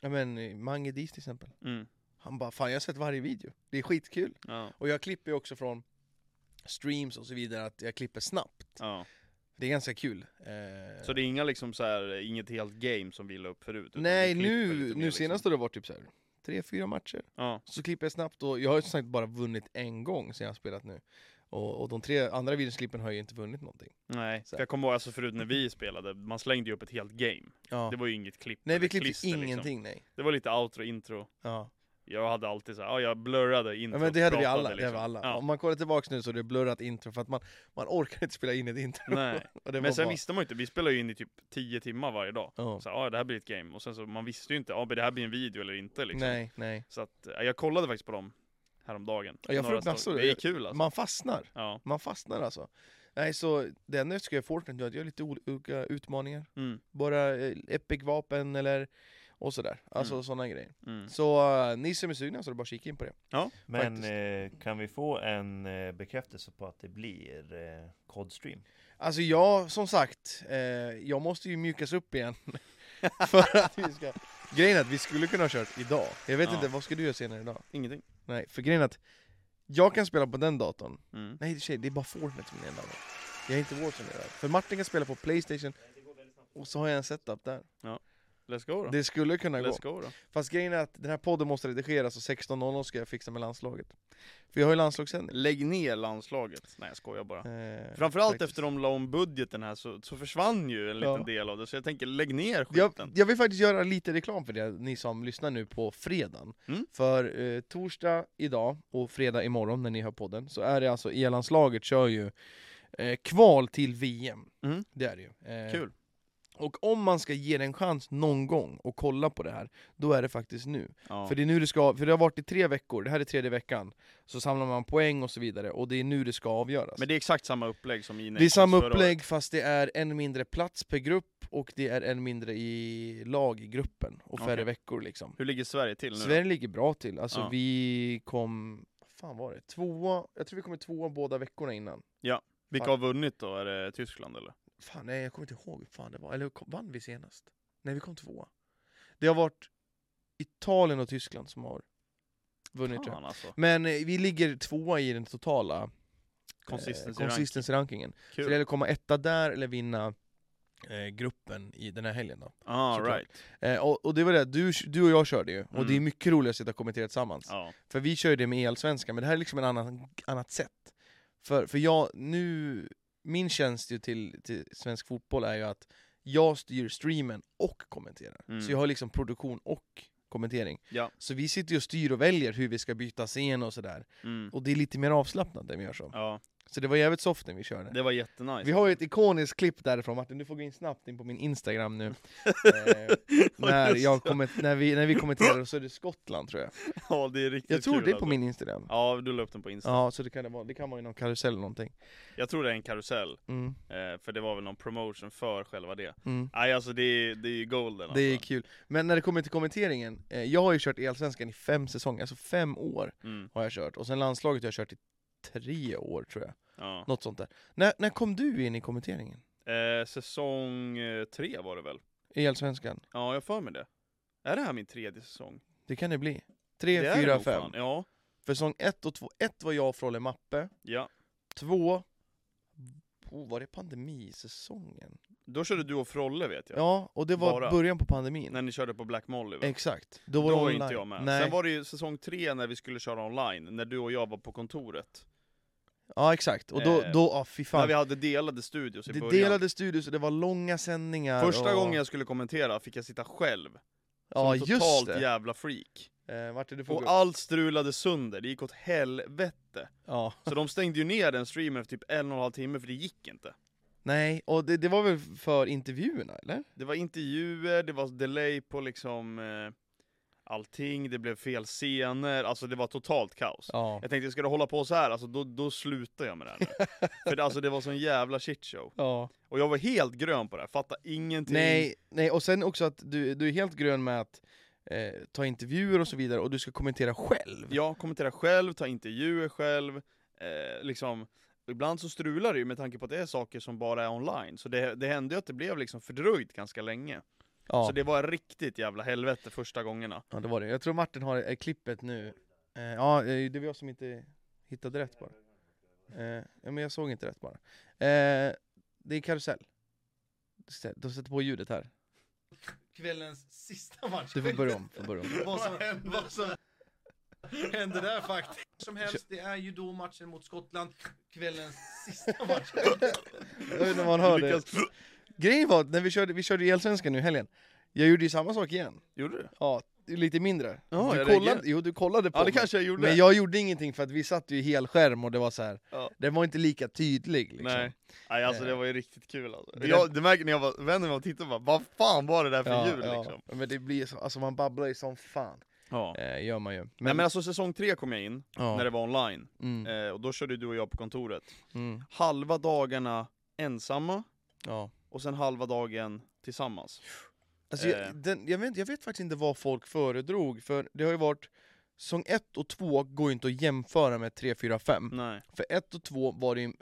ja men eh, Mange Dis till exempel.
Mm.
Han bara 'Fan jag har sett varje video, det är skitkul'
Ja,
Och jag klipper ju också från streams och så vidare, att jag klipper snabbt.
ja.
Det är ganska kul. Eh,
Så det är inga liksom så här, inget helt game som vi la upp förut? utan
Nej,
vi klipper
nu,
lite mer, liksom?
nu senast har det varit typ så här, tre, fyra matcher.
Ja,
Så klipper jag snabbt och jag har ju som sagt bara vunnit en gång sen jag har spelat nu. Och, och de tre andra videoklippen har jag ju inte vunnit någonting.
nej.
Så
För jag kommer ihåg alltså förut när vi spelade, man slängde ju upp ett helt game.
Ja.
Det var ju inget klipp.
Nej,
eller
vi klippte
klister, liksom.
ingenting, nej.
Det var lite outro, intro.
Ja.
Jag hade alltid så här, ja jag blurrade
Ja,
intro.
men det hade vi
pratade
alla, det hade
Mm. liksom.
vi alla.
Ja.
Om man kollar tillbaks nu så är det blurrat intro för att man, man orkar inte spela in ett intro.
Nej.
Och det
Men
var
sen
bara-
visste man ju inte, vi spelar ju in i typ 10 timmar varje dag.
Ja.
Så ja, det här blir ett game. Och sen så, man visste ju inte, ja men det här blir en video eller inte liksom.
Nej, nej.
Så att, ja, jag kollade faktiskt på dem häromdagen.
Ja, jag får
Några
upp massor.
stories. Det är kul alltså.
Man fastnar.
Ja.
Man fastnar alltså. Nej, så det enda jag ska göra i Fortnite är att göra lite olika utmaningar.
Mm.
Bara eh, epic-vapen eller och sådär. Alltså
Mm.
sådana grejer.
Mm.
Så eh, ni som är sugna så är det bara att kika in på det.
Men
Faktiskt.
eh, kan vi få en eh, bekräftelse på att det blir eh, kodstream?
Alltså jag, som sagt, eh, jag måste ju mjukas upp igen. för att vi ska... Grejen är att vi skulle kunna ha kört idag. Jag vet
Ja.
inte, vad ska du göra senare idag?
Ingenting.
Nej, för grejen är att jag kan spela på den datorn.
Mm.
Nej, tjej, det är bara Fortnite som är en dator. Jag är inte Warzone idag. För Martin kan spela på Playstation, och så har jag en setup där.
Let's go då.
Det skulle kunna gå.
Let's go då.
Fast grejen är att den här podden måste redigeras och 16.00 ska jag fixa med landslaget. För jag har ju landslagssändning.
Lägg ner landslaget. Nej jag skojar bara.
Eh,
Framförallt
faktiskt.
efter de la om budgeten här så, så försvann ju en liten
Ja.
del av det, så jag tänker lägg ner skiten.
jag, jag vill faktiskt göra lite reklam för det, ni som lyssnar nu på fredagen.
Mm.
För eh, torsdag idag och fredag imorgon när ni hör podden, så är det alltså E-landslaget kör ju eh, kval till VM.
Mm.
Det är det ju. Eh,
Kul.
Och om man ska ge det en chans någon gång och kolla på det här, då är det faktiskt nu.
Ja.
För det är nu det ska, för det har varit i tre veckor, det här är tredje veckan, så samlar man poäng och så vidare, och det är nu det ska avgöras.
Men det är exakt samma upplägg som i
Alltså. Det är
Nations
samma
förra året.
upplägg fast det är en mindre plats per grupp och det är en mindre i lag i gruppen och färre
Okej.
veckor liksom.
Hur ligger Sverige till nu då?
Sverige ligger bra till, alltså
Ja.
vi kom... fan var det? Tvåa, jag tror vi kommer tvåa båda veckorna innan.
Vilka har vunnit då? Är det Tyskland eller?
Fan, nej jag kommer inte ihåg hur fan det var. Eller kom- vann vi senast? Nej, vi kom tvåa. Det har varit Italien och Tyskland som har vunnit tror jag.
Fan alltså.
Men eh, vi ligger tvåa i den totala
Consistency
eh, consistency rankingen. Så det
Kul.
gäller att komma etta där eller vinna eh, gruppen i den här helgen då.
Ah,
såklart.
right.
Eh, och, och det var det, du, du och jag körde ju, och
Mm.
det är mycket roligare att sitta och kommentera tillsammans.
Ja.
För vi kör ju det med elsvenskan, men det här är liksom ett annan, annat sätt. För, för jag, nu, min tjänst ju till, till svensk fotboll är ju att jag styr streamen och kommenterar.
Mm.
Så jag har liksom produktion och kommentering.
Ja.
Så vi sitter ju och styr och väljer hur vi ska byta scen och sådär.
Mm.
Och det är lite mer avslappnat när vi gör så.
ja,
Så det var jävligt soft när vi körde.
det var jättenice.
Vi har ju ett ikoniskt klipp därifrån, Martin du får gå in snabbt in på min Instagram nu eh, när, jag komment- när, vi, när vi kommenterar så är det Skottland tror jag
Ja, det är riktigt
Jag tror
kul,
det är på
alltså.
min Instagram
Ja, du la upp den på Insta.
Ja, så det kan det vara, det kan vara i någon karusell eller någonting
Jag tror det är en karusell,
mm,
eh, för det var väl någon promotion för själva det.
mm.
Nej alltså det är, det är ju golden alltså.
Det är kul, men när det kommer till kommenteringen, eh, jag har ju kört Elsvenskan i fem säsonger, alltså fem år
mm,
har jag kört, och sen landslaget har jag kört i tre år tror jag,
ja.
något sånt där När, när kom du in i kommenteringen?
eh, Säsong eh, tre var det väl?
I Elsvenskan?
Ja, jag har för mig det. Är det här min tredje säsong?
Det kan det bli
det
Tre,
är det
fyra,
nog
fem
fan. Ja,
För säsong ett och två, ett var jag och Frolle Mappe
ja.
Två. Oh, var det pandemisäsongen?
Då körde du och Frolle vet
Ja,
jag.
och det var
Bara.
början på pandemin.
När ni körde på Black Molly väl?
Exakt. Då
Då
var det
var
online.
inte jag med.
Nej.
Sen var det ju säsong tre när vi skulle köra online, när du och jag var på kontoret.
Ja, exakt. Och då,
Eh,
då ah, fy
När
fan.
vi hade delade studios i
Det
början.
delade studios och det var långa sändningar.
Första
och...
gången jag skulle kommentera fick jag sitta själv,
Ja,
som
just
totalt
det.
jävla freak.
Eh, Martin, du får gå
Och
upp.
allt strulade sönder, det gick åt helvete.
Ja.
Så de stängde ju ner den streamen efter typ en och en halv timme för det gick inte.
Nej, och det, det var väl för intervjuerna, eller?
Det var intervjuer, det var delay på liksom eh, allting, det blev fel scener, alltså det var totalt kaos.
Ja.
Jag tänkte, ska det hålla på så här, alltså då, då slutar jag med det här nu. För det, alltså det var sån jävla shitshow.
ja.
Och jag var helt grön på det här, fattade ingenting.
Nej, nej, och sen också att du, du är helt grön med att eh, ta intervjuer och så vidare, och du ska kommentera själv.
Jag kommenterar själv, tar intervjuer själv, eh, liksom Ibland så strular det ju med tanke på att det är saker som bara är online, så det, det hände ju att det blev liksom fördröjt ganska länge.
Ja.
Så det var riktigt jävla helvete första gångerna.
Ja det var det. Jag tror Martin har eh, klippet nu. Eh, ja, eh, det var jag som inte hittade rätt bara. Eh, ja, men jag såg inte rätt bara. Eh, det är karusell. Se, De sätter på ljudet här.
kvällens sista match.
Du får börja om. Får börja om.
vad, som, vad som hände där faktiskt. Som helst, det är ju då matchen mot Skottland, kvällens sista match.
Jag vet inte om man hör det.
Lyckas-
Grejen var att när vi körde, vi körde i Allsvenskan nu i helgen, jag gjorde ju samma sak igen.
Gjorde du?
Ja, lite mindre.
Ja,
du,
jag
kollade,
reagerade.
jo, du kollade på
Ja det
mig.
kanske jag gjorde.
Men jag gjorde ingenting för att vi satt ju i helskärm och det var så här.
Ja.
den var inte lika tydlig liksom.
Nej. Nej alltså
Eh.
det var ju riktigt kul alltså.
Det-
Jag, det märker när jag var, vänder mig och tittar bara, vad fan var det där för djur liksom?
Men det blir så, alltså man babblar ju som fan.
Ja.
Eh, gör man ju. Men,
Men, men alltså säsong tre kom jag in,
ja.
när det var online,
mm,
eh, och då körde du och jag på kontoret.
mm,
Halva dagarna ensamma,
ja.
och sen halva dagen tillsammans.
Alltså,
Eh.
jag, den, jag, vet, jag vet faktiskt inte vad folk föredrog, för det har ju varit Säsong 1 och 2 går ju inte att jämföra med 3, 4, 5.
Nej.
För 1 och 2 var det ju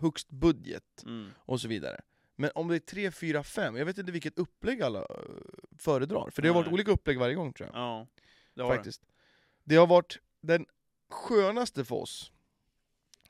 högst budget
Mm.
och så vidare. Men om det är 3, 4, 5, jag vet inte vilket upplägg alla eh, föredrar. För det har varit
Nej.
olika upplägg varje gång tror jag.
Ja. Det har
faktiskt. Det har varit den skönaste för oss,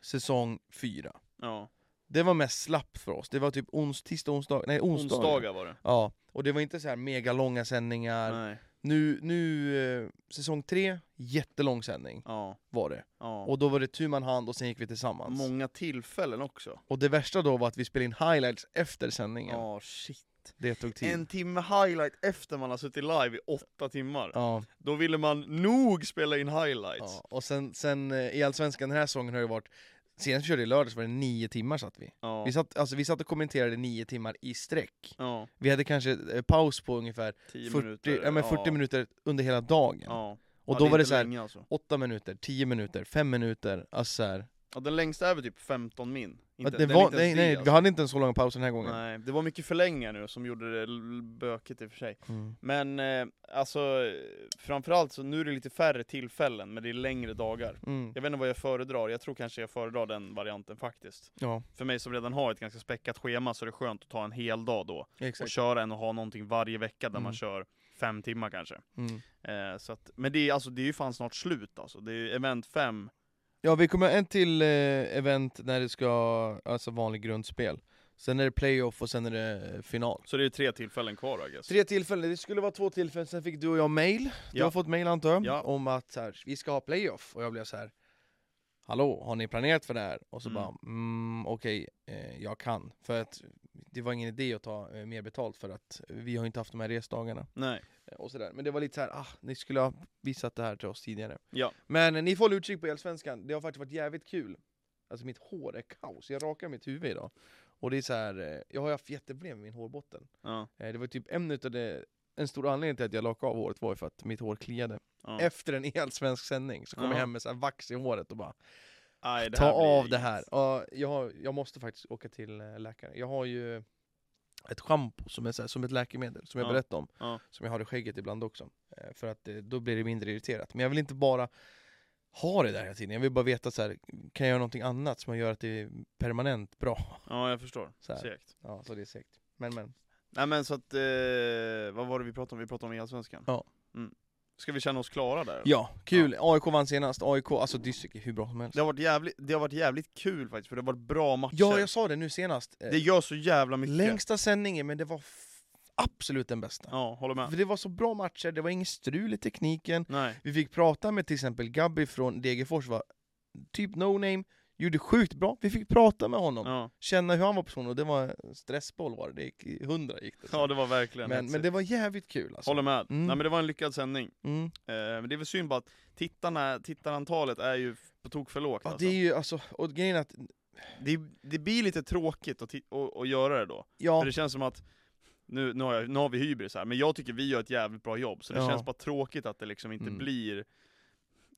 säsong 4.
det. Ja.
Det var mest slappt för oss, det var typ ons, tisdag, onsdag, nej onsdag.
Onsdagar var det.
Ja, och det var inte så här mega långa sändningar.
Nej.
Nu, nu eh, säsong tre, jättelång sändning
Ja.
var det.
Ja.
Och då var det tu man hand och sen gick vi tillsammans.
Många tillfällen också.
och det värsta då var att vi spelade in highlights efter sändningen.
Ja, shit.
Det tog tid.
En timme highlight efter man har suttit live i åtta timmar.
Ja,
Då ville man nog spela in highlights.
ja. Och sen, sen eh, i Allsvenskan den här säsongen har det varit, senast vi körde i lördags var det nio timmar satt vi.
Ja.
Vi satt, alltså, vi satt och kommenterade nio timmar i sträck.
Ja,
Vi hade kanske eh, paus på ungefär
10
40,
minuter.
ja, men 40 minuter under hela dagen.
Ja.
Och
Ja,
då
är
var det
inte
så här,
länge, alltså.
8 minuter, 10 minuter, 5 minuter, alltså så här,
Ja, den längsta är väl typ 15 min.
Ja,
Inte,
det
den är
var,
inte ens
nej, nej,
det,
vi
alltså.
hade inte en så lång paus den här gången.
nej, det var mycket förlängningar nu som gjorde det l- bökigt i och för sig.
Mm.
Men eh, alltså, eh, framförallt så nu är det lite färre tillfällen, men det är längre dagar.
Mm.
Jag vet inte vad jag föredrar, jag tror kanske jag föredrar den varianten faktiskt.
Ja,
För mig som redan har ett ganska späckat schema så är det skönt att ta en hel dag då. Och
exakt.
köra än att ha någonting varje vecka där
Mm.
man kör fem timmar kanske.
Mm.
Eh, så att, men det är, alltså, det är ju fan snart slut alltså. Det är ju event fem.
Ja, vi kommer en till eh, event när det ska, alltså vanlig grundspel. Sen är det playoff och sen är det final.
Så det är ju tre tillfällen kvar I guess.
Tre tillfällen, det skulle vara två tillfällen, sen fick du och jag mail, du
Ja.
har fått mail antar jag,
Ja.
om att så här, vi ska ha playoff, och jag blev så här. Hallå, har ni planerat för det här? Och så
Mm.
bara, mm, okej, eh, jag kan. För att det var ingen idé att ta eh, mer betalt för att vi har inte haft de här resdagarna.
Nej.
Eh, och så där. Men det var lite så här, ah, ni skulle ha visat det här till oss tidigare.
Ja.
Men eh, ni får hålla utkik på Elsvenskan, det har faktiskt varit jävligt kul. Alltså mitt hår är kaos, jag rakar mitt huvud idag. Och det är så här, eh, jag har haft jätteproblem med min hårbotten.
Ja.
Eh, Det var typ en utav det, en stor anledning till att jag lakade av håret var ju för att mitt hår kliade.
ja.
Efter en elsvensk sändning så kom jag
Ja.
hem med så här vax i håret och bara
Aj, det
Ta
här blir
av det
inget.
här! Ja, jag, har, jag måste faktiskt åka till eh, läkare. Jag har ju ett schampo som är så här, som ett läkemedel, som jag
Ja.
berättade om.
Ja.
Som jag har i skägget ibland också. Eh, För att eh, då blir det mindre irriterat. Men jag vill inte bara ha det där hela tiden. Jag vill bara veta så här, kan jag göra någonting annat som gör att det är permanent bra?
Ja, jag förstår.
Så här.
Segt.
Ja, så det är segt. Men men.
Nej men så att, eh, vad var det vi pratade om? Vi pratade om Allsvenskan.
Ja.
Mm. Ska vi känna oss klara där?
Ja, kul! AIK vann senast. AIK, alltså Dyssek är hur bra som helst.
Det har, varit jävligt, det har varit jävligt kul faktiskt, för det har varit bra matcher.
Ja, jag sa det nu senast. Eh,
Det gör så jävla mycket.
Längsta sändningen, men det var f- absolut den bästa.
Ja, håller med.
För det var så bra matcher, det var inget strul i tekniken.
Nej.
Vi fick prata med till exempel Gabby från Degerfors, var typ no-name, gjorde sjukt bra. Vi fick prata med honom,
Ja.
känna hur han var person och det var stressboll var det, det gick i hundra gick det.
ja, det var verkligen
men, men
hetsigt.
det var jävligt kul alltså.
Håller med.
Mm.
Nej men det var en lyckad sändning.
Mm.
Eh, men det är väl synd bara att tittarna, tittarantalet är ju f- på tok för lågt
Ja,
alltså.
det är ju alltså, och grejen är att,
det, det blir lite tråkigt att, ti- att, att göra det då.
ja,
För det känns som att, nu, nu, har jag, nu har vi hybris här, men jag tycker vi gör ett jävligt bra jobb, så det
Ja.
känns bara tråkigt att det liksom inte
Mm.
blir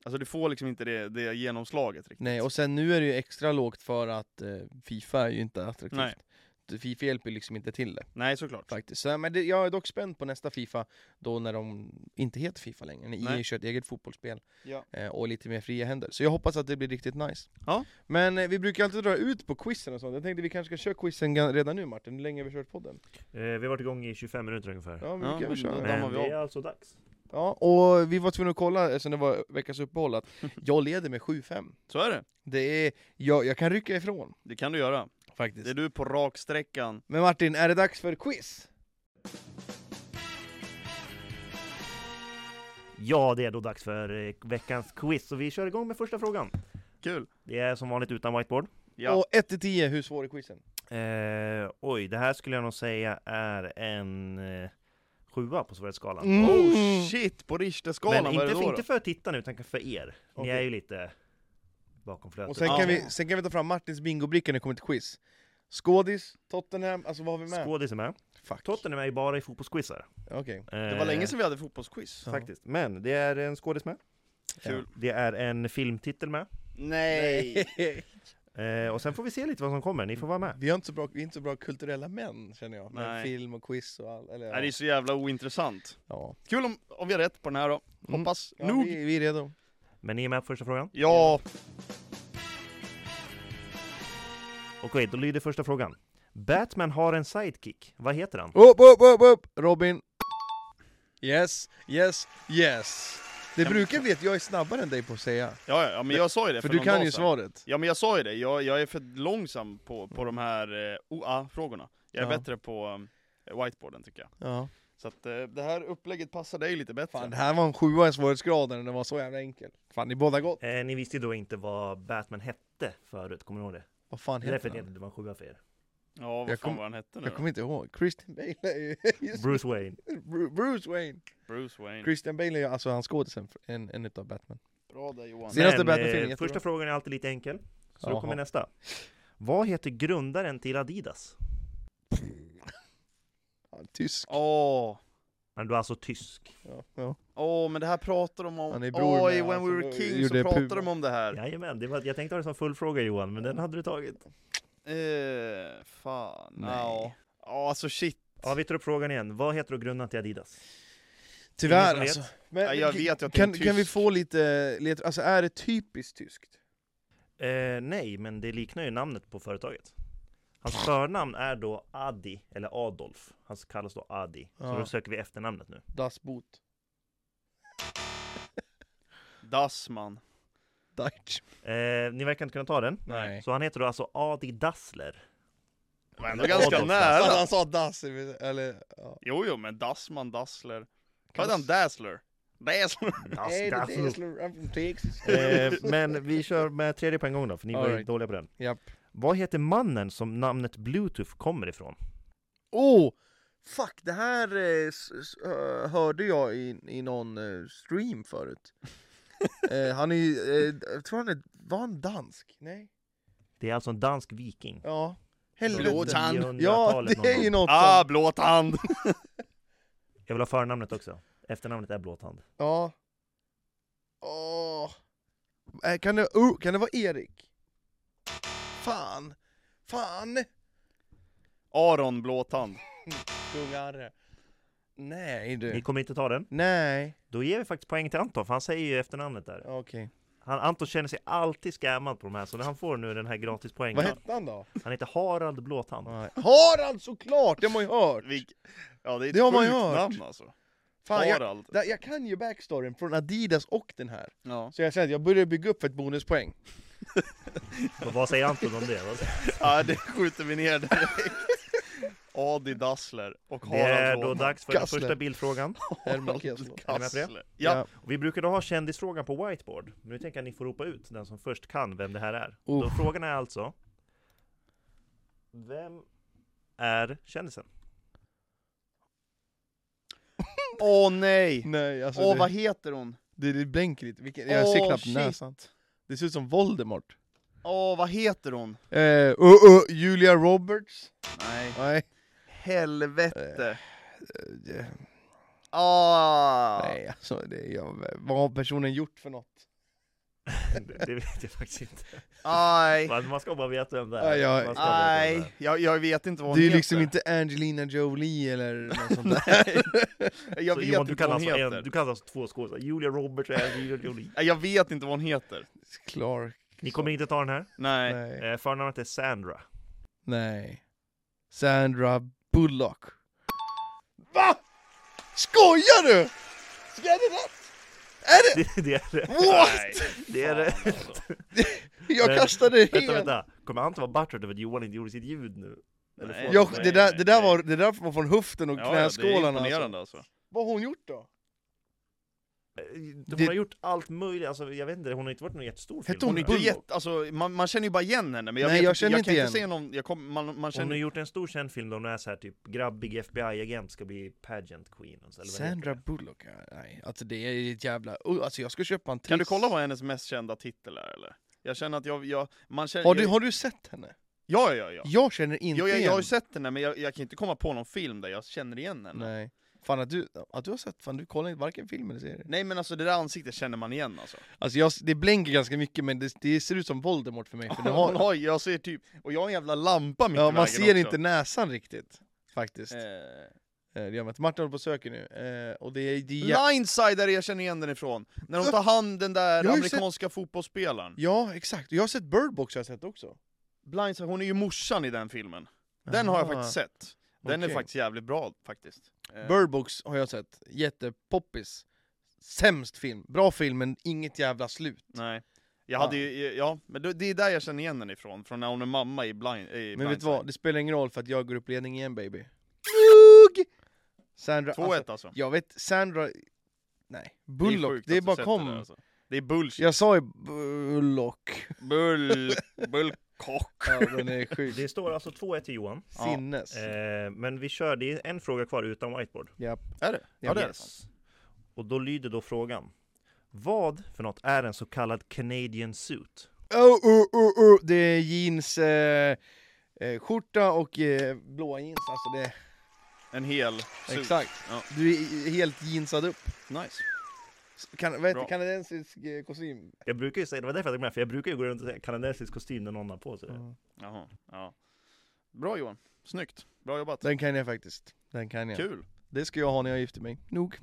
Alltså det får liksom inte det, det genomslaget riktigt.
nej och sen nu är det ju extra lågt för att eh, Fifa är ju inte
Nej.
attraktivt. Fifa hjälper ju liksom inte till det.
Nej såklart.
faktiskt. Så, men det, jag är dock spänd på nästa Fifa, då när de inte heter Fifa längre, när
Nej.
EA kör ett eget fotbollsspel
Ja.
eh, och lite mer fria händer. Så jag hoppas att det blir riktigt nice.
Ja.
Men eh, vi brukar alltid dra ut på quizen och sånt, jag tänkte vi kanske ska köra quizen gan- redan nu Martin, hur länge har vi kört podden?
Eh, vi har varit igång i 25 minuter ungefär.
Ja, vi
Ja,
kan väl
men
köra.
då
Ja.
dammar
Men
vi
det är alltså dags.
och vi var tvungna att kolla, eftersom det var veckans uppehåll, att jag leder med 7-5.
Så är det.
Det är, jag, jag kan rycka ifrån
Det kan du göra. Det
faktiskt.
är du på raksträckan.
Men Martin, är det dags för quiz?
Ja, det är då dags för eh, veckans quiz. Så vi kör igång med första frågan.
Kul!
Det är som vanligt utan whiteboard.
Ja.
Och 1-10, hur svår är quizen?
Eh, oj, det här skulle jag nog säga är en eh, sjua på svårighetsskalan.
Oh shit! På Richterskalan,
Men
vad är det
inte för,
då?
inte
då?
för tittarna utan för er. Ni
Okej.
är ju lite bakom flötet.
Och sen
Ja.
kan, vi, sen kan vi ta fram Martins bingobricka när det kommer till quiz. Skådis, Tottenham, alltså vad har vi med?
Skådis är med.
Fuck.
Tottenham är ju bara i fotbollsquizar.
Okej.
Det var länge sedan vi hade fotbollsquiz.
Ja.
Faktiskt. Men det är en skådis med.
Kul.
Det är en filmtitel med.
Nej!
Eh, och sen får vi se lite vad som kommer. Ni får vara med.
Vi, har inte så bra, vi är inte så bra kulturella män känner jag. Med
Nej.
film och quiz och allt. Eller,
Nej, det är så jävla ointressant.
ja.
Kul om, om vi har rätt på den här då.
Mm.
Hoppas.
Ja,
Nog!
vi, vi är redo.
Men ni är med på första frågan.
Ja!
Okej, då lyder första frågan. Batman har en sidekick. Vad heter han?
Upp, upp, upp, upp! Robin! Yes, yes, yes! Det
Kan-
brukar bli att jag är snabbare än dig på att säga.
Ja, ja, ja, men jag sa ju det
För
för
du
någon dag
kan ju
sedan.
svaret.
Ja men jag sa ju det, jag, jag är för långsam på, på de här eh, OA-frågorna. Jag är
Ja.
bättre på eh, whiteboarden tycker jag.
Ja.
Så att eh, det här upplägget passar dig lite bättre.
Fan, det här var en sjua i svårighetsgraden, den var så jävla enkel. Fan, ni båda gott.
Eh, ni visste ju då inte vad Batman hette förut. Kommer ni ihåg det?
Vad fan
Det är därför
heter
jag
han?
tänkte att det var en sjua för er.
Ja vad
Jag
fan
kom-
var han hette nu
Jag
då?
kommer inte ihåg. Christian Bale är ju... just-
Bruce Wayne.
Bru- Bruce Wayne!
Bruce Wayne.
Christian Bale är ju alltså han skådisen, fr- en, en utav Batman.
Bra där Johan.
Se- Senaste
Men,
Batman-filmen,
eh,
jättebra.
Första frågan är alltid lite enkel. Så
Jaha.
då kommer nästa. Vad heter grundaren till Adidas?
Ja, tysk.
Åh!
Han var alltså tysk.
Ja, ja.
Åh, men det här pratar de
Han
om.
är bror
Åh, i
med
When
han
We
som
Were
då
Kings så
gjorde
pratar
Puma.
de om det här.
Jajamän, det var, jag tänkte ha det som full fråga Johan, men den hade du tagit.
Eh, fan.
Nej.
Ja, Ja, alltså shit.
Ja, vi tar upp frågan igen. Vad heter grundarna till Adidas? Ingen
Tyvärr
som vet.
alltså. Men,
Ja, jag vet ju att det är
kan,
en
kan vi
tysk.
få lite, lite, alltså är det typiskt tyskt?
Eh, nej, men det liknar ju namnet på företaget. Hans förnamn är då Adi, eller Adolf. Han kallas då Adi. Så
Ja.
då söker vi efternamnet nu.
Das Boot.
Dassman.
Deutsch.
Eh, ni verkar inte kunna ta den.
Nej.
Så han heter då alltså Adi Dassler.
Det var ändå ganska
Adolf
Fast
nära.
han sa Das, eller ja.
Jo, jo, men Dassman, Dassler. Vad heter han? Dazzler? Dazzler.
Das,
Hey, the
Dassler. Alltså,
Dazzler, I'm from Texas.
Eh, men vi kör med tredje på en gång då, för ni var ju
Alright.
dåliga på den.
Japp.
Vad heter mannen som namnet Bluetooth kommer ifrån?
Oh! Fuck, det här eh, s- s- eh, hörde jag i, i någon eh, stream förut. eh, han är ju, eh, jag tror han är, var han dansk? Nej?
Det är alltså en dansk viking.
Ja.
Från
Helvete.
Blåtand.
Ja,
900-talet
det är
någon
ju
gång.
något
Ah,
sånt.
blå tand.
Jag vill ha förnamnet också. Efternamnet är Blåtand.
Ja. Åh. Eh, Kan det, oh, kan det vara Erik? Fan. Fan.
Aron Blåtand.
Kungare. Nej
Ni
du.
kommer inte ta den.
Nej.
Då ger vi faktiskt poäng till Anton, för han säger ju efternamnet där.
Okej.
Han, Anton känner sig alltid scammad på de här, så när han får nu den här gratispoängen.
Vad
Han,
hette han då?
han heter Harald Blåtand.
Nej. Harald såklart! Det har man ju hört!
Vilk... Ja, det är ett
Det har man ju
sjukt
hört.
namn alltså.
Fan, jag,
Harald.
där- jag kan ju backstoryn från Adidas och den här.
Ja.
Så jag säger att jag börjar bygga upp för ett bonuspoäng.
Och Vad säger Anton om det? Vad-
ja, det skjuter vi ner direkt. Adi Dassler och
Det
Harald
är då
Blåtand.
dags för den
Kassler.
första bildfrågan.
Herman Kessler.
Harald
Är ni med på det?
Kassler. Ja.
Och vi brukar då ha kändisfrågan på whiteboard. Men nu tänker jag att ni får ropa ut den som först kan vem det här är. Då
Uff.
frågan är alltså. Vem är kändisen?
Åh nej!
Nej, alltså
Åh,
det,
vad heter hon?
det, det blänker lite. Vilken, jag ser
Åh,
knappt
shit.
näsan. Det ser ut som Voldemort.
Åh, vad heter hon?
Eh, uh, uh, Julia Roberts?
Nej.
Nej.
Helvete.
Eh,
Ah.
Nej, alltså det, jag, vad har personen gjort för något?
Det, det vet jag faktiskt inte.
Aj.
Man, man ska bara veta vem det är.
Aj, aj,
Man ska bara veta vem det
Aj. Jag, jag vet inte vad hon
Det är ju
heter.
liksom inte Angelina Jolie eller något sånt där.
Jag
Så
vet
Johan, du
inte
kan,
vad hon
alltså en,
heter.
du kan alltså två skådespelare, Julia Roberts och Angelina Jolie.
Nej, Jag vet inte vad hon heter.
Clark.
Ni kommer inte ta den här.
Nej.
Nej.
Eh, förnamnet är Sandra.
Nej. Sandra Bullock. Va? Skojar du? Ska jag det rätt? Är det?
Det, det är det.
Nej.
What?
Det är det.
alltså.
Jag
Men-
kastade helt...
Vänta, vänta. Kommer Anton vara buttered över att Johan inte gjorde sitt ljud nu? Eller
Nej.
får
Jag,
han-
det, där, det, där var, det där var från höften och
Ja, ja, det är
knäskålarna. alltså.
imponerande alltså.
Vad har hon gjort då?
Eh,
Hon
Det-
har gjort allt möjligt, alltså jag vet inte, hon har inte varit någon jättestor
Hette
film.
hon
Hon är inte
Bulldog.
jätte, alltså, man, man känner ju bara igen henne, men jag,
Nej,
vet
jag
inte,
känner
jag
inte
kan
igen.
inte se någon, jag kom, man, man
Hon har
känner...
gjort en stor känd film där hon är så här typ grabbig FBI-agent ska bli pageant queen. Alltså, eller vad heter
Sandra Bullock? ja, Nej, alltså det är ett jävla... Oh, Alltså jag ska köpa en
Kan du
triss.
kolla vad hennes mest kända titel är eller? Jag känner att jag, jag man känner...
Har du,
jag,
har du sett henne?
Ja, ja, ja. ja.
Jag känner inte
Jo, jag, jag
igen
har ju sett henne, men jag, jag kan inte komma på någon film där jag känner igen henne. Nej,
Nej. Fan att du, att du har sett, fan du kollar inte varken film eller serie.
men alltså det där ansiktet känner man igen alltså.
Alltså jag, det blänker ganska mycket men det, det ser ut som Voldemort för mig. För det har,
Hon har, ju- jag ser typ, och jag har en jävla lampa mitt i
ja,
vägen
man ser
också.
inte näsan riktigt. Faktiskt. Eh.
Eh,
Det gör man inte. Martin håller på och söker nu. Eh, och det är... Det är
Blindside är det jag känner igen den ifrån. När hon tar hand den där
Jag har ju
amerikanska fotbollsspelaren.
Ja, exakt. Jag har sett Bird Box har jag sett också.
Blindside, hon är ju morsan i den filmen. Den har jag
Aha.
faktiskt sett. Den är
Okej.
faktiskt jävligt bra faktiskt. Eh,
Bird Box har jag sett. Jättepoppis. Sämst film. Bra film, men inget jävla slut.
Nej. Jag
Ah.
hade ju, eh, ja, men då- det är där jag känner igen den ifrån, från när hon är mamma i Blind i
Men vet du
Blindside.
vad? Det spelar ingen roll för att jag går upp ledning igen baby. Sandra,
2-1
alltså,
alltså.
jag vet, Sandra... Nej.
Det är
Bullock, det är,
sjukt att du
bara
sätter
kom.
det där, alltså. Det är bullshit.
Jag sa ju Bullock.
Bull... Bullkock.
Ja, den är sjuk.
Det står alltså 2-1 till Johan.
Ja.
Sinnes.
Eh, men vi kör, det är en fråga kvar utan whiteboard.
Japp.
Är det? Ja, det är det.
Yes. Och då lyder då frågan. Vad för något är en så kallad Canadian suit?
Oh, oh, oh, oh. Det är jeans, eh, eh, skjorta och eh, blåa jeans. Alltså det...
En hel suit.
Exakt.
Ja.
Du är i- helt jeansad upp.
Nice.
Kan, vad heter,
Bra.
kanadensisk eh, kostym?
Jag brukar ju säga, det var därför jag tog med, för jag brukar ju gå runt och säga kanadensisk kostym när någon har på sig det.
Jaha. Ja. Bra Johan. Snyggt. Bra jobbat.
Den kan jag faktiskt. Den kan jag.
Kul.
Det ska jag ha när jag gifter mig. Nog.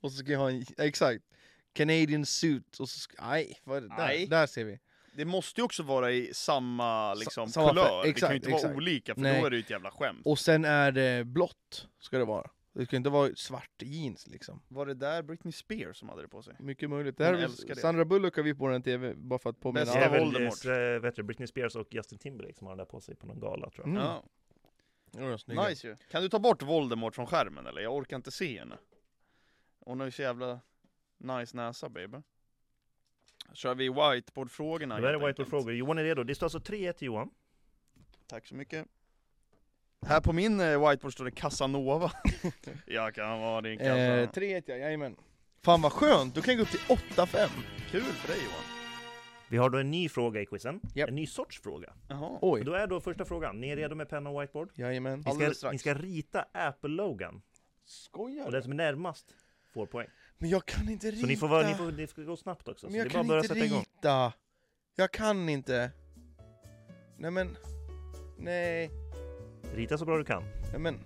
Och så ska jag ha en, exakt. Canadian suit. Och så ska, nej, vad är det?
Nej.
Där, där ser vi.
Det måste ju också vara i samma liksom,
samma fär-
kulör. det kan
exakt,
ju inte vara
exakt.
olika för
Nej.
då är det ju ett jävla skämt.
Och sen är det blått, ska det vara. Det ska inte vara svart jeans liksom.
Var det där Britney Spears som hade det på sig?
Mycket möjligt. Det
Hon
här är
älskar
väl,
det.
Sandra Bullock har vi på den TV, bara för att påminna
Bästa
Det är
alla.
av
väl
Voldemort.
eh, vet du, Britney Spears och Justin Timberlake som har den där på sig på någon gala tror jag.
Mm.
Ja,
Ja, snygga.
nice ju. Kan du ta bort Voldemort från skärmen eller? Jag orkar inte se henne. Hon har ju så jävla nice näsa baby. Kör vi whiteboardfrågorna
det där
helt
är
enkelt.
whiteboard-frågor. Johan är redo. Det står alltså 3-1 till Johan.
Tack så mycket. Här på min eh, whiteboard står det Casanova. jag kan vara din Casanova.
Eh, 3-1 ja, jajamän. Fan vad skönt, då kan jag gå upp till 8-5.
Kul för dig Johan.
Vi har då en ny fråga i quizen.
Japp.
En ny sorts fråga.
Jaha.
Oj,
Då är då första frågan. Ni är redo med penna och whiteboard?
jajamän.
Ni
Alldeles
ska,
strax.
ni ska rita Apple-logan.
Skojar
Och den som är närmast får poäng.
Men jag kan inte rita.
Så ni får, vara, ni får ni ska gå snabbt också.
Men
Så alltså. det
jag
är bara att
kan
börja
inte
sätta igång.
rita. Jag kan inte. Nej men. Nej.
Rita så bra du kan.
Nej men.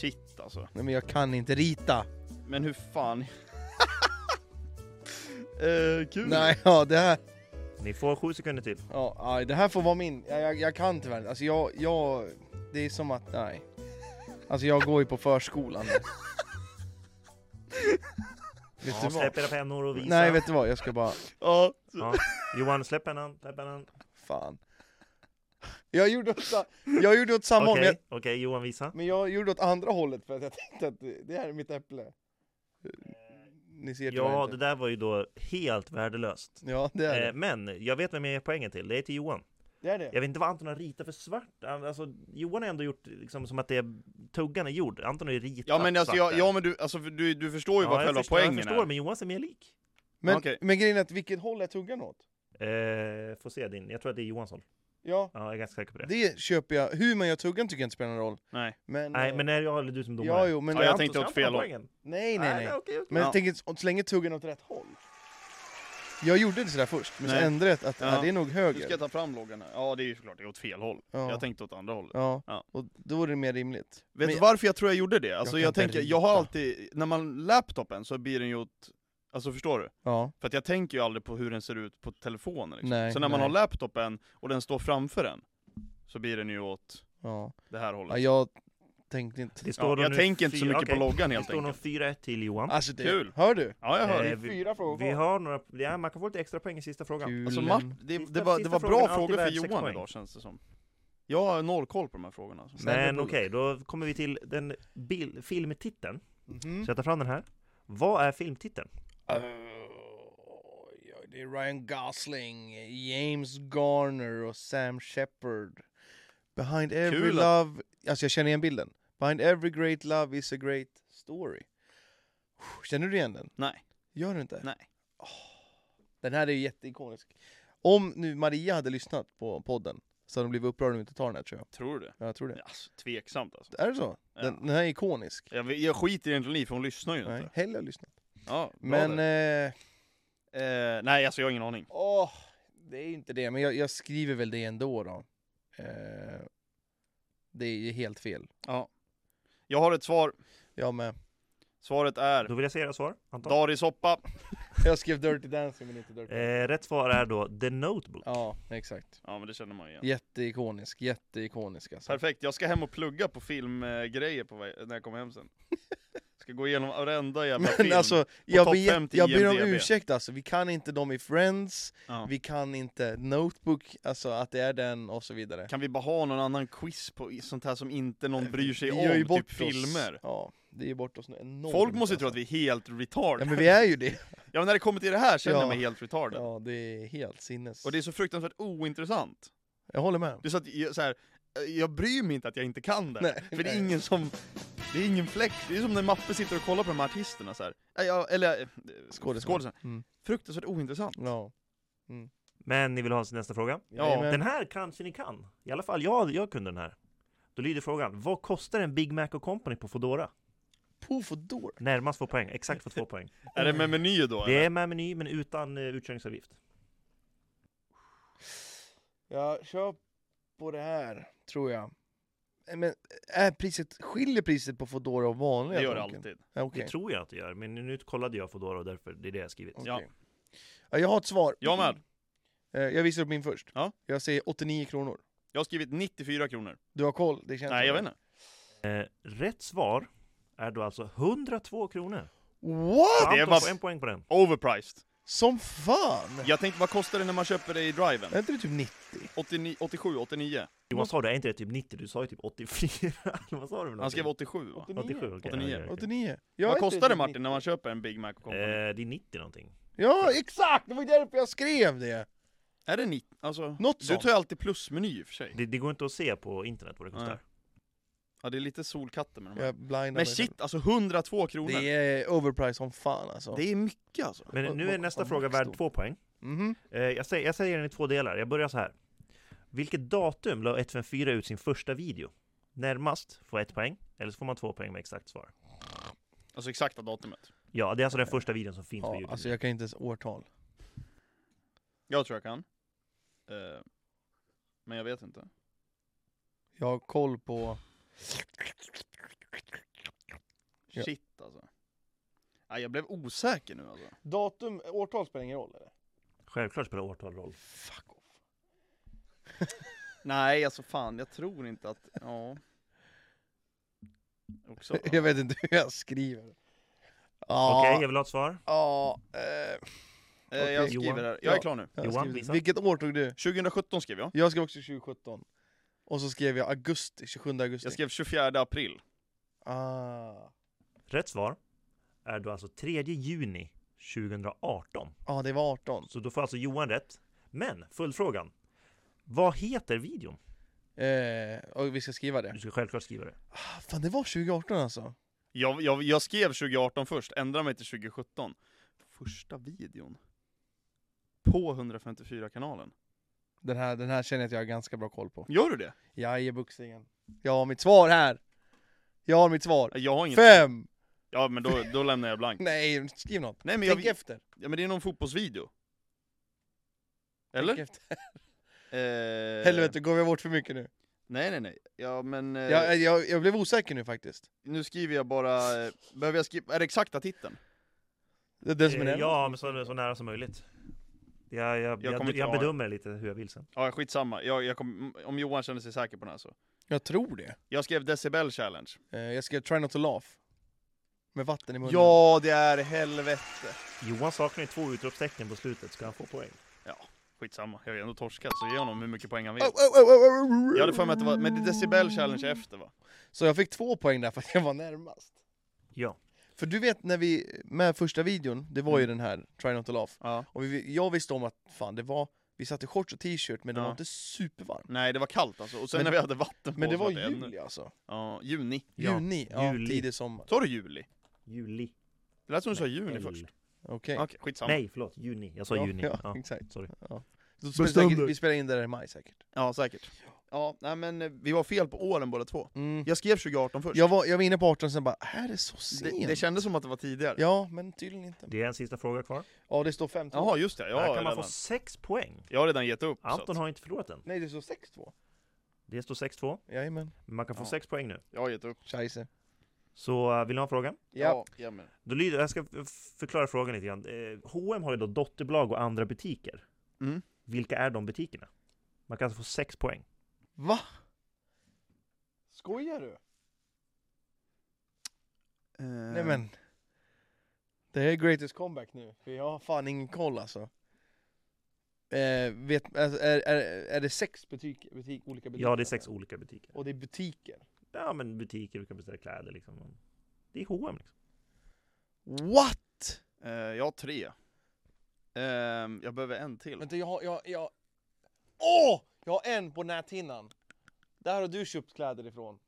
Shit alltså.
Nej men jag kan inte rita.
Men hur fan... eh, kul.
Nej, ja det här.
Ni får sju sekunder till.
Ja, aj, det här får vara min. Jag, jag, jag kan tyvärr inte. Alltså jag, jag. Det är som att, nej. Alltså jag går ju på förskolan. nu. vet du
Ja,
vad?
släpp era pennor och visa.
Nej vet du vad, jag ska bara.
Ja.
ja. Johan, släpp pennan. Släpp pennan.
Fan. Jag gjorde åt, sa- jag gjorde åt samma håll, men
Okej,
jag-
okej, Johan visa.
men jag gjorde åt andra hållet för att jag tänkte att det det här är mitt äpple. Ni ser tyvärr
Ja,
inte.
det där var ju då helt värdelöst.
Ja, det är
Eh,
det.
Men jag vet vem jag ger poängen till. Det är till Johan.
Det är det.
Jag vet inte vad Anton har ritat för svart. Han- Alltså, Johan har ändå gjort liksom, som att det är tuggan är gjord. Anton har ju ritat
Ja men alltså,
svart
jag,
där.
ja, men du, alltså, för du, du förstår ju vad
jag
själva
förstår,
poängen
Jag förstår,
är.
men Johan ser mer lik.
Men,
Okej.
men grejen är att vilket håll är tuggan åt?
Eh, får se din. Jag tror att det är Johans håll.
Ja,
Ja, jag är ganska säker på det.
det köper jag. Hur man gör tuggan tycker jag inte spelar någon roll.
Nej.
Men,
Nej,
eh,
men är jag eller du som domare?
ja, jo, men
Ja, jag
nej,
tänkte åt fel håll.
nej, nej. nej.
okej, okej.
Men
Ja.
jag tänker, så- så länge tuggan är åt rätt håll. Jag gjorde det sådär först, men
Nej.
så ändrade jag att
Ja.
ja. det är nog
Nu ska
höger.
jag ta fram loggan här. Ja det är ju såklart, det är åt fel håll.
Ja.
Jag tänkte åt andra hållet.
Ja.
Ja.
och då är det mer rimligt.
Vet
Men-
du varför jag tror jag gjorde det? Alltså
kan
jag,
inte
tänker, jag har
rita.
alltid, när man laptopen så blir den ju åt, alltså förstår du?
Ja,
För att jag tänker ju aldrig på hur den ser ut på telefonen liksom.
Nej,
Så när man
nej.
har laptopen och den står framför en, så blir den ju åt
ja.
det här hållet.
ja jag tänkte inte...
Det står
Ja,
då
jag
nu
tänker inte så
fyra-
mycket på
okej.
loggan
Det
helt
står nog
enkelt.
4-1 till Johan.
Alltså det,
Kul.
Hör du?
Ja jag hör.
Det
Eh,
är
vi-
fyra frågor
Vi har några, ja, man kan få lite extra poäng i sista frågan.
Kul.
Alltså Mart, det,
Sista-
det var, det
sista
var
frågan är
bra
alltid
frågor för
värd sex
Johan
poäng.
idag känns det som. Jag har noll koll på de här frågårna. Alltså.
Men okej, då kommer vi till den bil, filmtiteln.
Mhm.
Så jag tar fram den här. Vad är filmtiteln?
Oj, oj, det är Ryan Gosling, James Garner och Sam Shepard. Behind every
Kul att-
love... Alltså jag känner igen bilden. Behind every great love is a great story. Känner du igen den?
Nej.
Gör du inte?
Nej.
Åh, Den här är ju jätteikonisk. Om nu Maria hade lyssnat på podden så hade hon blivit upprörd om vi inte tar den här tror jag.
Tror du det?
Ja, Jag tror det.
Alltså, tveksamt alltså.
Är det så? Den, den här är ikonisk.
Jag, jag skiter egentligen i för hon lyssnar ju
Nej,
inte.
Helle har lyssnat.
Ja, bra
Men...
där.
Eh,
Eh, nej alltså jag har ingen aning.
Åh, det är inte det, men jag, jag skriver väl det ändå då. Eh, det är ju helt fel.
Jag har ett svar.
Jag med.
Svaret är
Då vill jag se era svar, Anton.
Darisoppa.
Jag skrev Dirty Dancing men inte Dirty.
Eh, rätt svar är då The Notebook.
Ja, exakt.
Ja men det känner man ju igen.
Jätteikonisk, jätteikonisk alltså.
Perfekt, jag ska hem och plugga på filmgrejer på väg, när jag kommer hem sen. Ska gå igenom varenda jävla
Men
film.
alltså, jag,
topp
ber,
50
jag ber om
IMDb.
ursäkt alltså, vi kan inte dem i Friends,
Ja.
vi kan inte Notebook, alltså att det är den och så vidare.
Kan vi bara ha någon annan quiz på i- sånt här som inte någon bryr sig
Eh, Vi
om?
gör ju
Typ
bort oss.
filmer.
Ja, det är ju bort oss nu enormt.
Folk måste ju tro att
alltså.
vi är helt retard.
Ja men vi är ju det.
Ja men när det kommer till det här känner
Ja.
jag mig helt retarded.
Ja, det är helt sinnes.
Och det är så fruktansvärt ointressant.
Jag håller med.
Det är så att jag, så här, eh, jag bryr mig inte att jag inte kan det.
Nej,
för det är
nej.
ingen som... Det är ingen fläck. Det är som när Mappe sitter och kollar på de här artisterna så här. Eh, ja, Eller... eh,
Skådisar.
skådisarna.
Mm.
Fruktansvärt ointressant.
Ja. Mm.
Men ni vill ha nästa fråga?
Ja,
Jajamän.
Den här kanske ni kan? I alla fall jag, jag kunde den här. Då lyder frågan, vad kostar en Big Mac och Company på Foodora?
Poof och dår.
Närmast får poäng, exakt får två poäng.
Är det med meny då?
Det
eller?
är med meny men utan eh, utkörningsavgift.
Jag kör på det här, tror jag. Eh, Men är priset, skiljer priset på Foodora och vanliga
det gör det
Donken?
alltid.
Ja, okej.
Det tror jag att det gör, men nu kollade jag Foodora och därför, det är det jag har skrivit.
Okej.
Ja.
Ja, Jag har ett svar.
Jag med.
Eh, Jag visar upp min först.
Ja.
Jag säger 89 kronor.
Jag har skrivit 94 kronor.
Du har koll? Det känns
Nej,
som
jag
det.
vet inte.
Eh, rätt svar är då alltså 102 kronor.
What?
Anton
var-
får en poäng på den.
Overpriced.
Som fan!
Jag tänkte, vad kostar det när man köper det i driven?
Är inte det typ 90?
89, 87, 89?
Johan sa det, är inte det typ 90? Du sa ju typ 84, eller vad sa du? för
Han skrev
någonting?
87 va?
87, okej.
89.
okej, okej.
89. Jag
Vad
är inte
kostar det
riktigt
Martin
90.
när man köper en Big Mac och Company?
Eh, det är 90 någonting.
Ja, exakt! Det var därför jag skrev det!
Är det 90? Alltså,
Något
du
sånt.
tar ju alltid plusmeny i och för sig.
Det, det går inte att se på internet vad det kostar.
Nej. Ja, det är lite solkatter med de här.
Jag blindar
Men
mig
shit, alltså 102 kronor!
själv. Det är overpriced som fan alltså.
Det är mycket alltså.
Vad-
Men nu är
vad-
nästa
vad
fråga
max
värd
då?
två poäng.
Mhm.
Eh, jag, säger, jag säger den i två delar. Jag börjar så här. Vilket datum la 154 ut sin första video? Närmast får ett poäng, eller så får man två poäng med exakt svar.
Alltså exakta datumet.
Ja, det är alltså den första videon som finns på
Ja,
Youtube.
alltså jag kan inte ens årtal.
Jag tror jag kan. Eh, men jag vet inte.
Jag har koll på... Ja.
Shit alltså. Nej, jag blev osäker nu alltså.
Datum, årtal spelar ingen roll eller?
Självklart spelar årtal roll.
Fuck off.
Nej, alltså fan, jag tror inte att... Ja. Också.
Jag vet inte hur jag skriver. Ja,
Okej, jag vill ha ett svar.
ja, eh,
Eh, jag
Okej,
skriver
Johan.
här. Jag är
Ja.
klar nu.
jag
Johan,
skriver-
visa.
Vilket år tog du?
2017 skrev jag.
Jag skrev också 2017. Och så skrev jag augusti, 27 augusti.
Jag skrev 24 april.
Ah.
Rätt svar är då alltså 3 juni 2018.
ah, det var 18.
Så då får alltså Johan rätt. Men följdfrågan. Vad heter videon?
Eh, och vi ska skriva
Du
det.
ska självklart skriva det.
Ah, fan, det var 2018 alltså.
Jag, jag, jag skrev 2018 först, ändrade mig till 2017. Första videon. På 154-kanalen.
Den här, den här känner jag att jag har ganska bra koll på.
Gör du det?
Jag är buxingen. Jag har mitt svar här! Jag har mitt svar.
Jag har inget...
Fem!
Ja, men då, då lämnar jag blank.
Nej, skriv något.
Nej, men
Tänk
jag,
efter.
Ja men det är någon fotbollsvideo.
Tänk
Eller?
efter.
Eh,
Helvete, går vi bort för mycket nu?
Nej nej nej. Ja men eh,
Jag, jag, jag blev osäker nu faktiskt.
nu skriver jag bara, eh, behöver jag skriva, är det exakta titeln?
Det är det som är
Eh,
den.
Ja, men så, så nära som möjligt. Jag,
Jag
jag, jag,
kommer
jag,
inte ha-
bedömer lite hur jag vill sen.
Ja skitsamma, jag, jag kom, om Johan känner sig säker på den här så.
Jag tror det.
Jag skrev decibel challenge.
Eh, jag skrev try not to laugh. Med vatten i munnen.
Ja det är helvete!
Johan saknar ju två utropstecken på slutet. Ska han få poäng?
Ja, skitsamma. Jag har ju ändå torskat så ge honom hur mycket poäng han vill.
Oh, oh, oh, oh, oh.
Jag hade för mig att det var, men det är decibel challenge är efter va?
Så jag fick två poäng där för att jag var närmast.
Ja.
För du vet när vi, med första videon, det var ju
Mm.
den här Try Not To Laugh.
Ja.
Och vi, jag visste om att fan det var, vi satt i shorts och t-shirt men det
Ja.
var inte supervarmt.
Nej det var kallt alltså, och sen
Men-
när vi hade vatten på
Men det
oss
var
ännu-
juli alltså.
Ja, juni.
Ja.
Juni, ja,
Juli.
tidig sommar.
Sa du juli?
Juli.
Det lät som du sa juni
L.
först.
Okej.
Okej, skitsamma.
Nej, förlåt. Juni. Jag sa
ja,
juni.
Ja,
Ja.
exakt.
Sorry.
Så spelar
Bestäm
säkert,
dig.
vi spelar in det där i maj säkert.
Ja säkert. Ja, nej men eh, vi var fel på åren båda två.
Mm.
Jag skrev 2018 först.
Jag, var, jag var inne på 18 sen bara, här är det så
det,
sent?
det kändes som att det var tidigare.
Ja, men tydligen inte.
Det är en sista fråga kvar.
Ja, det står 5-2.
Jaha, just det. Jag
Här
har,
kan man
redan,
få sex poäng.
jag har redan gett upp. så
Anton
att,
har inte förlorat än.
Nej, det står 6-2.
Det står 6-2.
Jajamän.
Men man kan få
Ja.
sex poäng nu.
Jag har gett upp.
Scheisse.
Så eh, vill ni ha frågan?
Ja.
ja men.
Då lyder, jag ska f- förklara frågan lite grann. Eh, H&M har ju då dotterbolag och andra butiker.
Mm.
Vilka är de butikerna? Man kan alltså få sex poäng.
Va? Skojar du?
Eh.
Nej men. Det är greatest comeback nu, för jag har fan ingen koll alltså. Eh, vet, alltså, är, är, är det sex butik, butik, olika butiker?
Ja, det är sex olika butiker.
Och det är butiker?
Ja, men butiker, du kan beställa kläder liksom. Det är H&M liksom.
What?
Eh, jag har tre. Ehm, jag behöver en till.
Vänta, jag har... Jag, jag... Åh! Jag har en på näthinnan! Där har du köpt kläder ifrån.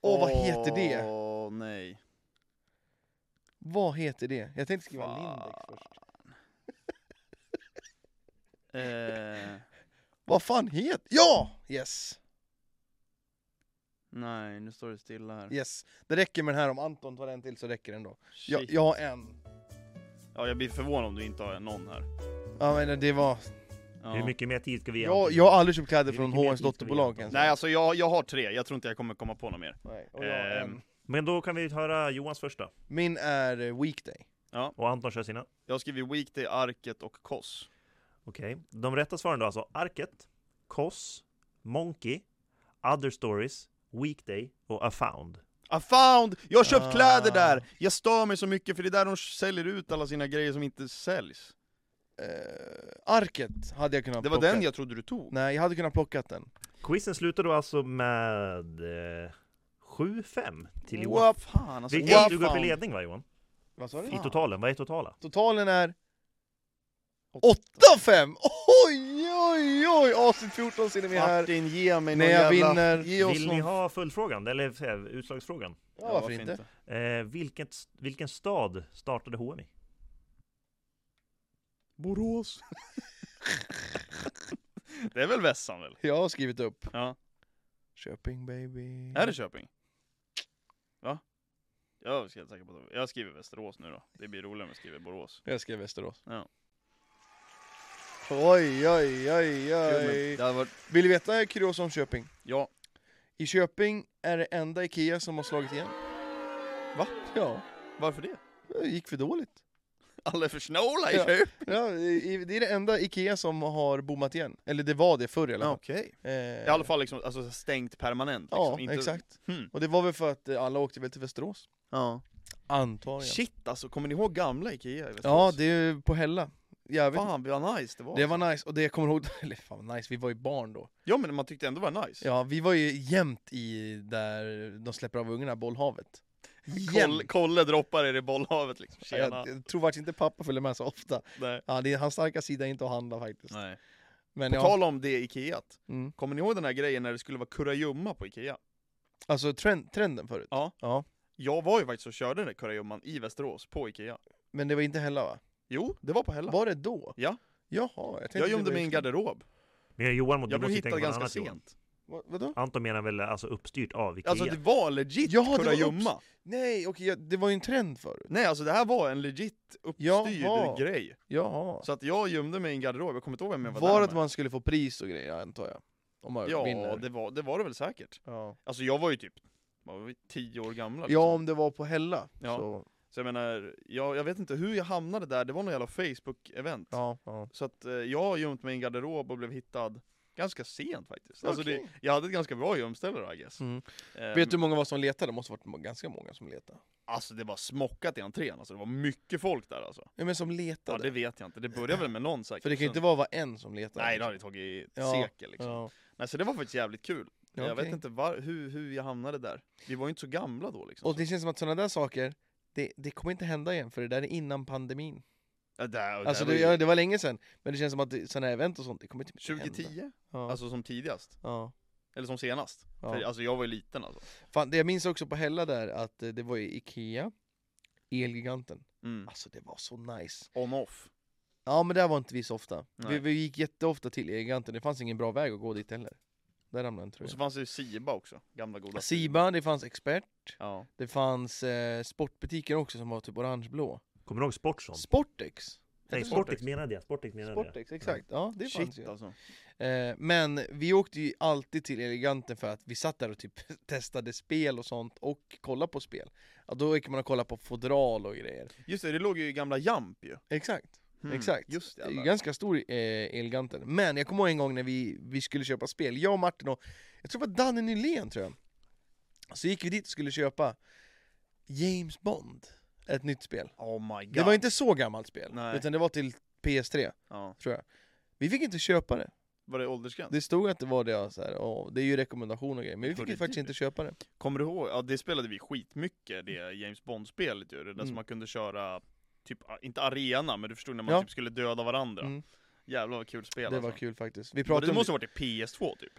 Åh, vad heter det?
Åh nej.
Vad heter det? Jag tänkte skriva
Fan.
Lindex först.
Eh,
Vad fan heter... Ja! Yes!
nej, nu står det stilla här.
Yes. Det räcker med den här, om Anton tar en till så räcker den då. Jag,
Shit.
jag har en.
Ja, jag blir förvånad om du inte har någon här.
Ja men det var...
Ja.
Hur mycket mer tid ska vi ge?
Jag, jag har aldrig köpt kläder
Det är
från
mycket mer
H&M's
tid för
dotterbolag
Anton.
ens.
Nej, alltså jag, jag har tre. Jag tror inte jag kommer komma på något mer.
Nej, och jag har
Ehm.
en.
Men då kan vi höra Johans första.
Min är eh, Weekday.
Och Anton kör sina.
Jag skriver Weekday, Arket och Koss.
Okej. De rätta svaren då alltså Arket, Koss, Monkey, Other Stories, Weekday och Afound.
I found! Jag har köpt
Ah.
kläder där! Jag stör mig så mycket för det är där de säljer ut alla sina grejer som inte säljs.
Eh, arket hade jag kunnat
Det var
plocka.
den jag trodde du tog.
Nej, jag hade kunnat plockat den.
Quizen slutar då alltså med eh, 7-5 till Johan.
Vad fan alltså.
Vilken
what
du går upp i
fan.
ledning va Johan?
Vad sa du?
I totalen, vad är totala?
Totalen är 8-5! Oj, oj, oj! AC14 ser ni här.
Martin, ge mig
När
någon
jag
jävla...
vinner.
Ge oss
Vill
någon...
ni ha fullfrågan, eller eh, utslagsfrågan?
Ja, varför inte?
Eh, vilket, vilken stad startade H&M i?
Borås. det är väl Vessan väl?
Jag har skrivit upp.
Ja.
Köping baby.
Är det Köping? Va? Jag är helt säker på att Jag skriver Västerås nu då. Det blir roligare om jag skriver Borås.
Jag skrev Västerås.
Ja.
Oj, oj, oj,
Kul, men
oj.
Det hade varit...
Vill du veta kuriosa om Köping?
Ja.
I Köping är det enda Ikea som har slagit igen.
Va?
Ja,
Varför det?
det gick för dåligt.
Alla är för snåla i
Ja.
Köping.
Ja, i- i- det är det enda Ikea som har bommat igen. Eller det var det förr i alla fall.
Okej.
Eh,
I alla fall liksom, alltså, stängt permanent. Liksom.
Ja, exakt.
Hmm.
Och det var väl för att eh, alla åkte väl till Västerås?
Ja.
Antar jag.
Shit alltså, kommer ni ihåg gamla Ikea i Västerås?
Ja, det är ju på Hälla. Jävligt.
Fan vad nice det var.
Det var nice, och det jag kommer ihåg, eller fan vad nice, vi var ju barn då.
Ja men man tyckte ändå det var nice.
Ja, vi var ju jämt i där de släpper av ungarna, bollhavet.
Koll,
Jämt!
kolle droppar er i bollhavet liksom. Tjena.
Jag, jag tror faktiskt inte pappa följer med så ofta.
Nej.
Ja, det är hans starka sida är inte att handla faktiskt.
Nej.
Men
På
ja,
tal om det Ikea.
mm.
Kommer ni ihåg den här grejen när det skulle vara kurragömma på Ikea?
alltså trend, trenden förut.
Ja.
ja.
Jag var ju faktiskt och körde den där kurragömman i Västerås, på Ikea.
Men det var inte Hälla va?
Jo, det var på Hälla.
Var det då?
Ja.
Jaha, jag tänkte liksom?
Jag
det
gömde
var
mig i en
just-
garderob.
Vi har Johan mot
Jag
du
blev
måste tänka
hittad
på något
ganska
annat, Johan.
sent.
Vad, vadå?
Anton menar väl alltså uppstyrt av Ikea?
Alltså det var legit
Ja, det var
kurragömma.
Nej, okej, ja, det var ju en trend förut.
Nej, alltså det här var en legit uppstyrd
Jaha.
grej.
Jaha.
Så att jag gömde mig i en garderob, jag kommer inte ihåg vem jag var,
Var
där
att man skulle få pris och grejer antar jag? Om man
Ja,
vinner?
det var, det var det väl säkert.
Ja.
Alltså jag var ju typ vad var vi, tio år gamla.
ja,
Liksom.
om det var på Hälla.
Ja.
Så,
Så jag menar, jag, jag vet inte hur jag hamnade där, det var någon jävla Facebook-event.
ja, ja.
Så att eh, jag har gömt mig i en garderob och blev hittad ganska sent faktiskt. Alltså det,
Okej.
jag hade ett ganska bra gömställe då I guess.
Mm.
Eh,
Vet du hur många var som letade? Det måste ha varit må- ganska många som letade.
Alltså det var smockat i entrén, alltså det var mycket folk där alltså.
Ja, men som
Ja
letade?
det vet jag inte, det började väl med någon säkert.
För det kan ju inte
Sen-
vara bara en som letade.
Nej det hade tagit
Ja,
sekel liksom.
Ja.
Nej så det var faktiskt jävligt kul.
Ja,
Jag vet
okej.
inte var, hur, hur jag hamnade där. Vi var ju inte så gamla då liksom.
Och det känns som att sådana där saker, det, det kommer inte hända igen för det där är innan pandemin.
Ja, där, och
Alltså
där
det,
var
ja,
ju
det var länge sedan, men det känns som att det- sådana här event och sånt, det kommer typ inte hända.
2010?
Ja.
Alltså som tidigast.
ja.
Eller som senast.
Ja.
För, alltså jag var ju liten alltså.
Fan, det jag minns också på Hälla där att eh, det var ju Ikea, Elgiganten.
Mm.
Alltså det var så nice.
On-off.
Ja men där var inte vi så ofta. Vi,
Nej.
vi gick jätteofta till Elgiganten, det fanns ingen bra väg att gå dit heller. Där ramlade en
Och så
tröja.
fanns det ju Siba också, gamla goda
Ah, Siba, det fanns Expert,
Ja.
det fanns eh, sportbutiker också som var typ orangeblå.
Kommer du ihåg Sportson?
Sportex!
Nej,
Hette
Sportex menade jag. Sportex menade jag.
Sportex, exakt. Ja, det fanns
Shit
ju.
alltså.
Eh, men vi åkte ju alltid till Eleganten för att vi satt där och typ testade spel och sånt och kollade på spel. Ja, då gick man och kollade på fodral och grejer.
Just det, det låg ju i gamla Jump ju.
Exakt.
Mm,
Exakt.
Just det,
Det är ju
jävlar.
ganska stor eh, Elganten. Men jag kommer ihåg en gång när vi, vi skulle köpa spel, jag och Martin och jag tror det var Danne Nylén tror jag. Så gick vi dit och skulle köpa James Bond, ett nytt spel.
Oh my god.
Det var inte så gammalt spel,
Nej.
utan det var till PS3
Ja.
tror jag. Vi fick inte köpa det.
Var det åldersgräns?
Det stod att det var det, ja, så här, och det är ju rekommendation och grejer, men vi fick
Hörde
ju faktiskt
du?
inte köpa det.
Kommer du ihåg? Ja, det spelade vi skitmycket, det James Bond-spelet ju. Det där
Mm.
som man kunde köra, typ, a- inte arena, men du förstod när man
Ja.
typ skulle döda varandra.
Mm.
Jävlar vad kul spel
Det
alltså.
var kul faktiskt. Vi
Och
pratade
det
om
måste ha varit i PS2 typ.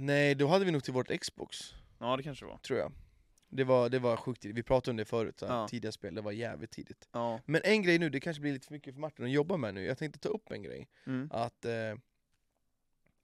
Nej, då hade vi nog till vårt Xbox,
Ja det kanske det var.
tror jag. Det var, det var sjukt tidigt, vi pratade om det förut, så här,
Ja.
tidiga spel, det var jävligt tidigt.
Ja.
Men en grej nu, det kanske blir lite för mycket för Martin att jobba med nu, jag tänkte ta upp en grej.
Mm.
Att eh,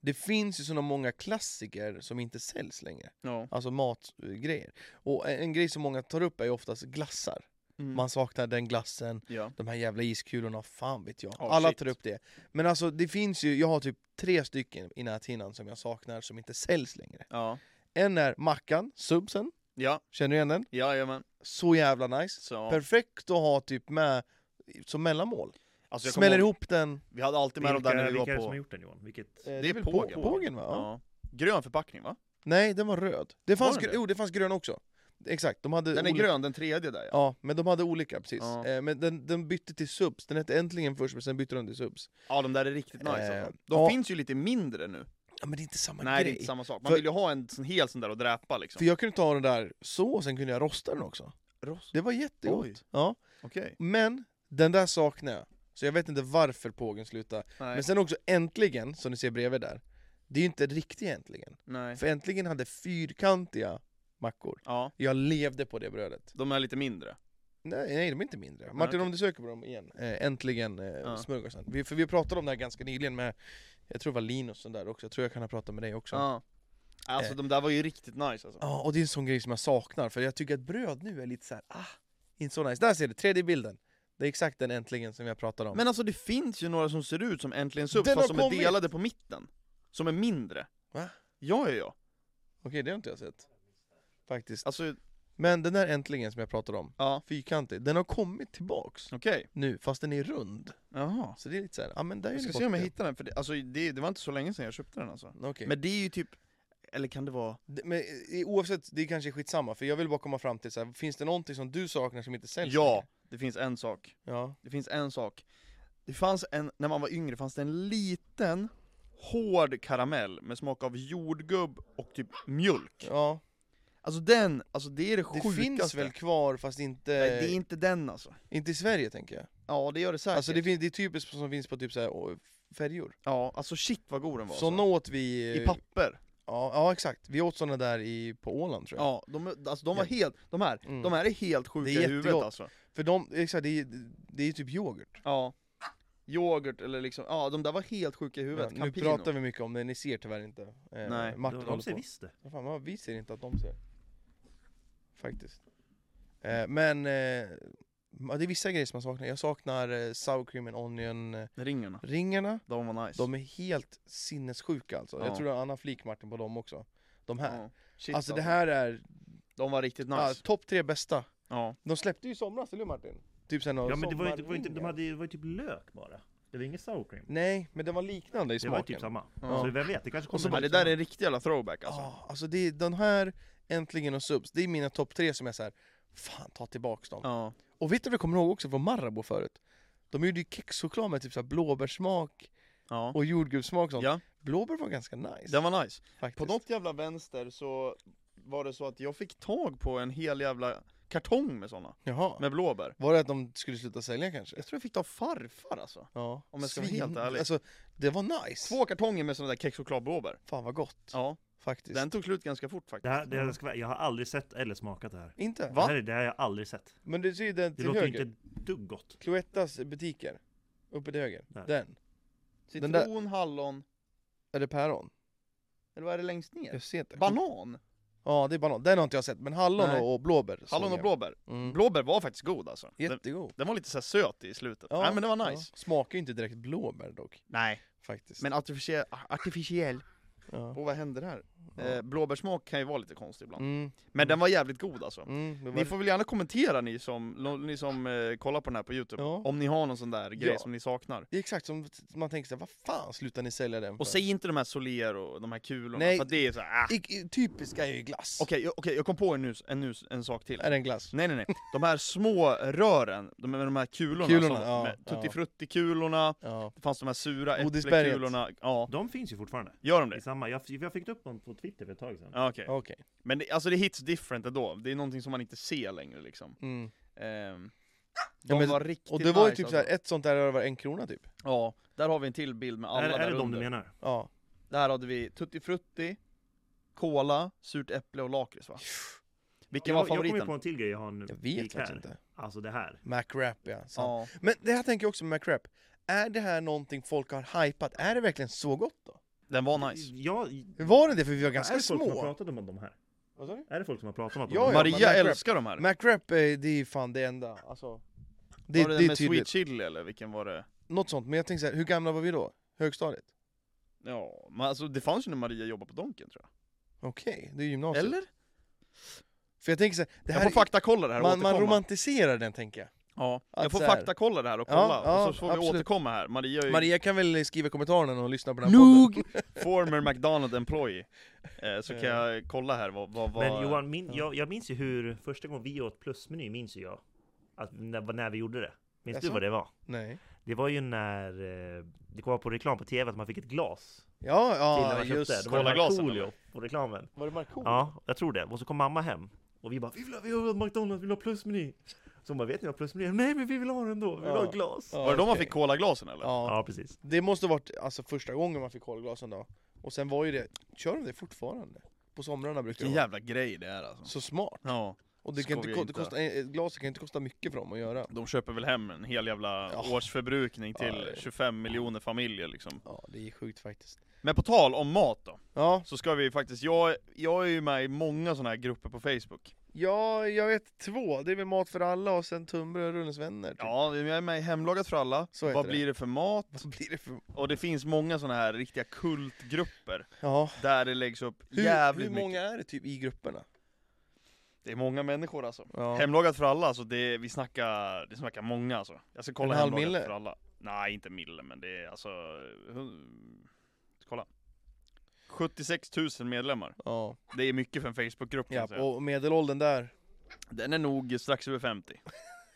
det finns ju såna många klassiker som inte säljs längre,
Ja.
alltså matgrejer. Och en, en grej som många tar upp är ju oftast glassar.
Mm.
Man saknar den glassen,
ja.
de här jävla iskulorna, fan vet jag.
Ja,
Alla
shit.
tar upp det. Men alltså det finns ju, jag har typ tre stycken i näthinnan som jag saknar som inte säljs längre.
Ja.
En är mackan, subsen,
Ja.
känner du igen den?
Jajamän.
Så jävla nice.
Så.
Perfekt att ha typ med som mellanmål.
Alltså, jag kommer
Smäller
ihåg-
ihop den...
Vi hade alltid med dem där när vi
vilka
var
är det som har
på...
gjort den Johan? Vilket...
eh,
Det är
väl
pågen,
på-
va?
pågen va? Ja.
Ja. Grön förpackning va?
Nej, den var röd. Det fanns,
den
gr-
det?
jo, det fanns grön också. Exakt, de hade
Den är
olika-
grön, den tredje där ja.
Ja, men de hade olika precis.
Ja.
Eh, men den, den bytte till subs, den hette äntligen först men sen bytte de till subs.
Ja de där är riktigt nice
Eh,
alltså. De
ja.
finns ju lite mindre nu.
Ja men det är inte samma
Nej det är
grej.
inte samma sak. Man
För-
vill ju ha en sån hel sån där och dräpa liksom.
För jag kunde ta den där så, och sen kunde jag rosta den också.
Rost.
Det var jättegott.
Oj.
Ja.
Okej.
Men den där saknar jag. Så jag vet inte varför pågen slutar.
Nej.
Men sen också äntligen, som ni ser bredvid där. Det är ju inte riktigt äntligen.
Nej.
För äntligen hade fyrkantiga mackor.
Ja.
Jag levde på det brödet.
De är lite mindre.
Nej, nej de är inte mindre. Martin
okej.
om du söker på dem igen, eh, äntligen eh, smörgåsen. Vi, för vi pratade om det här ganska nyligen med, jag tror det var Linus som där också, jag tror jag kan ha pratat med dig också.
Ja. Alltså
Eh.
de där var ju riktigt nice alltså.
Ja, och det är en sån grej som jag saknar, för jag tycker att bröd nu är lite så här, ah, inte så nice. Där ser du, tredje bilden. Det är exakt den äntligen som jag pratade om.
Men alltså det finns ju några som ser ut som Äntligen Subs
Den
fast
har
som är
kommit!
delade på mitten. Som är mindre.
Va?
Ja, ja, ja.
Okej, det har inte jag sett. Faktiskt.
Alltså,
Men den där äntligen som jag pratade om,
ja.
fyrkantig, den har kommit tillbaks
Okej.
nu, fast den är rund.
Jaha.
Så det är lite så här, ja men där är
Jag
ni
ska
borta.
se om jag hittar den, för det, alltså, det, det var inte så länge sedan jag köpte den alltså.
Okej.
Men det är ju typ, eller kan det vara...
Det- Men eh, oavsett, det kanske är skitsamma, för jag vill bara komma fram till så här, finns det någonting som du saknar som inte säljs?
Ja,
längre?
det finns en sak.
ja.
Det finns en sak. Det fanns en, när man var yngre fanns det en liten hård karamell med smak av jordgubb och typ mjölk.
Ja.
Alltså den, alltså det är det,
Det
sjukaste.
finns väl kvar, fast inte,
Nej, det är inte den alltså.
inte i Sverige tänker jag.
Ja det gör det säkert.
Alltså det, finns, det är typiskt som finns på typ så här, å, färjor.
Ja, alltså shit vad god den var.
Såna åt vi...
alltså. I papper.
ja, ja exakt, vi åt såna där i, på Åland tror jag.
Ja, de, alltså de var helt, de här,
Mm.
de här är helt sjuka
Det är
i huvudet
jättegott.
alltså.
För de, exakt, det är, det är typ yoghurt.
Ja. Yoghurt eller liksom, ja de där var helt sjuka i
Ja,
huvudet.
nu
Campino.
pratar vi mycket om det, ni ser tyvärr inte. Eh,
Nej.
Martin
de
håller
ser
på.
visst det.
Vad fan, vad- vi ser inte att de ser. Faktiskt. Eh, men eh, ja, det är vissa grejer som jag saknar. Jag saknar eh, sour cream and onion-ringarna.
Ringarna, de var nice.
De är helt sinnessjuka alltså.
Ja.
Jag tror det var en annan flik Martin på dem också. De här.
Ja. Shit,
alltså det här är
De var riktigt nice.
ja, topp tre bästa.
Ja.
De släppte ju i somras, eller hur Martin? Typ sen
Ja men det var ju, det var ju, inte- de hade, ju- det var ju typ lök bara. Det var ingen sour cream.
Nej, men den var liknande i
Det
smaken.
var ju typ samma.
Ja.
Så vem vet, det kanske
Och så
kommer
bara,
en
det
ny
där
sour-
är en riktig jävla throwback alltså.
Alltså, alltså det är den här, Äntligen och Subs, det är mina topp tre som är så här. fan ta tillbaks dem.
Ja.
Och vet du vad jag kommer ihåg också från Marabou förut? De gjorde ju kexchoklad med typ så här blåbärssmak
Ja.
och jordgubbssmak och sånt.
ja,
Blåbär var ganska nice.
den var nice.
faktiskt.
På något jävla vänster så var det så att jag fick tag på en hel jävla kartong med såna,
Jaha.
med blåbär.
Var det att de skulle sluta sälja kanske?
Jag tror jag fick ta farfar alltså.
Ja.
Om jag ska vara helt ärlig.
Alltså, det var nice.
Två kartonger med såna där kexchokladblåbär.
Fan vad gott.
Ja,
Faktiskt.
den tog slut ganska fort faktiskt.
det här, det här ska, vara- Jag har aldrig sett eller smakat det här.
Inte?
Det här, är- det här har jag aldrig sett.
Men du ser ju den
Det
till
låter
höger.
ju inte ett dugg gott.
Cloettas butiker. Uppe till höger.
Där.
Den. Den
Citron,
där-
hallon,
Är det päron?
eller vad är det längst ner?
Jag ser inte.
Banan!
Ja, det är banan. Den har inte jag sett. Men hallon
Nej.
och, och blåbär. såg
Hallon och
jag.
blåbär.
Mm.
Blåbär var faktiskt god alltså. Den,
Jättegod.
den var lite så här söt i slutet.
Ja,
Nej men det var nice.
Ja. Smakar ju inte direkt blåbär dock.
Nej,
Faktiskt.
men artificiell. artificiell.
ja.
Och vad händer här?
Ja.
Eh, blåbärssmak kan ju vara lite konstig ibland.
Mm,
Men den var jävligt god alltså.
mm, det var...
Ni får väl gärna kommentera ni som, ni som eh, kollar på den här på youtube,
Ja.
om ni har någon sån där grej
Ja.
som ni saknar.
Det är exakt som som man tänker såhär, vad fan slutar ni sälja den för?
Och säg inte de här Soler och de här kulorna,
Nej.
för att det är såhär, ah. Okej,
I, i, typiska är ju glass.
jag- okej, jag kom på en, nu, en, nu, en sak till.
Är det en glass?
Nej nej nej, de här små rören, de, med de här kulorna,
Kulorna,
som-
ja,
med
ja.
tuttifrutti-kulorna,
Ja.
det fanns de här sura
Godisberget.
äppelkulorna, ja,
De finns ju fortfarande.
gör de det?
I samma. Jag, jag fick upp dem på Twitter för ett tag sedan.
Ja, okej.
Okej.
Men det, alltså det hits different ändå, det är någonting som man inte ser längre liksom.
Mm.
Ehm, de
Ja, men-
var riktigt
Och det var ju
nice,
typ
alltså.
såhär, ett sånt där var en krona typ.
Ja, där har vi en till bild med alla
är,
där
är det de
under.
du menar?
Ja.
Där hade vi Tutti Frutti, Cola, Surt Äpple och Lakrits va? Vilken
jag,
var
jag kommer ju
favoriten?
på en till grej jag har nu.
Jag vet
gick här.
faktiskt inte.
Alltså det här.
MacRap ja. sant.
Ja.
Men det här tänker jag också med MacRap. Är det här någonting folk har hypat? Är det verkligen så gott då?
Den var nice.
Jag,
Hur var det det? För vi var
är
ganska
det folk som har
små.
pratat om de här?
Vad sa du?
Är det folk som har pratat om att de
Ja,
här?
men
Maria
MacRap-
älskar de här.
MacRap eh, det är fan det enda. Alltså, det,
var det,
det är
med Sweet
tydligt.
Chili eller vilken var det?
Något sånt. Men jag tänker så här, hur gamla var vi då? Högstadiet?
Ja, men alltså det fanns ju när Maria jobbade på Donken tror
Okej, det är gymnasiet.
jag. Eller?
För jag tänker så här, det
Jag
här
får
är-
faktakolla det här och
man, man
återkomma.
romantiserar den tänker jag.
Ja, jag
Att
får
så här-
faktakolla det här och
Ja,
kolla,
ja,
och så får vi
absolut.
återkomma här. Maria är ju
Maria kan väl skriva i kommentarerna och lyssna på den här podden.
Nog! Former McDonald employee. Eh, så kan
Eh.
jag kolla här vad... vad, vad
Men Johan, min,
Ja.
jag, jag minns ju hur första gången vi åt plusmeny, minns ju jag. Att när, när vi gjorde det. Minns du
Jaså?
vad det var?
Nej.
Det var ju när eh, det kom på reklam på tv att man fick ett glas
Ja,
till när
ja
man
just
köpte. Det
Cola
var
glasen,
Markoolio på reklamen.
Var det Markoolio?
Ja, jag tror det. Och så kom mamma hem och vi bara Vi vill ha, vi vill ha McDonalds, vi vill ha plusmeny! Så hon bara Vet ni vad plusmeny är? Nej men vi vill ha den då, vi vill
Ja.
ha ett glas!
Ja,
var det då man
okej.
fick colaglasen eller?
Ja.
Ja precis.
Det måste ha varit alltså, första gången man fick kolglasen då. Och sen var ju det, kör de det fortfarande? På somrarna brukar
Vilken
det vara.
jävla grej det är alltså.
Så smart.
Ja,
Och det kan inte,
Skojar
ko- det
inte.
kostar, ett glas kan inte kosta mycket för dem att göra.
de köper väl hem en hel jävla
Ja.
årsförbrukning
Ja,
till
det-
25 miljoner familjer liksom.
Ja, det är sjukt faktiskt.
Men på tal om mat då,
Ja,
så ska vi faktiskt, jag, jag är ju med i många sådana här grupper på
Typ.
Facebook.
ja jag vet två. Det är väl Mat för alla och sen Tumbre och Rullens vänner. Typ.
Ja, jag är med i Hemlagat för alla,
Så heter
vad
det.
blir det för mat?
Vad blir det för...
Och det finns många sådana här riktiga kultgrupper,
Ja.
där det läggs upp
Hur,
jävligt
hur
mycket.
många är det typ i grupperna?
Det är många människor alltså.
Ja.
Hemlagat för alla, alltså det, vi snackar, det snackar många alltså. Jag ska kolla
En halv
Hemlagat
mille?
för alla. Nej, inte mille, men det är alltså... hu- Kolla. 76 000 medlemmar.
Ja.
Det är mycket för en Facebookgrupp kan jag
ja,
säga.
och medelåldern där.
Den är nog strax över 50.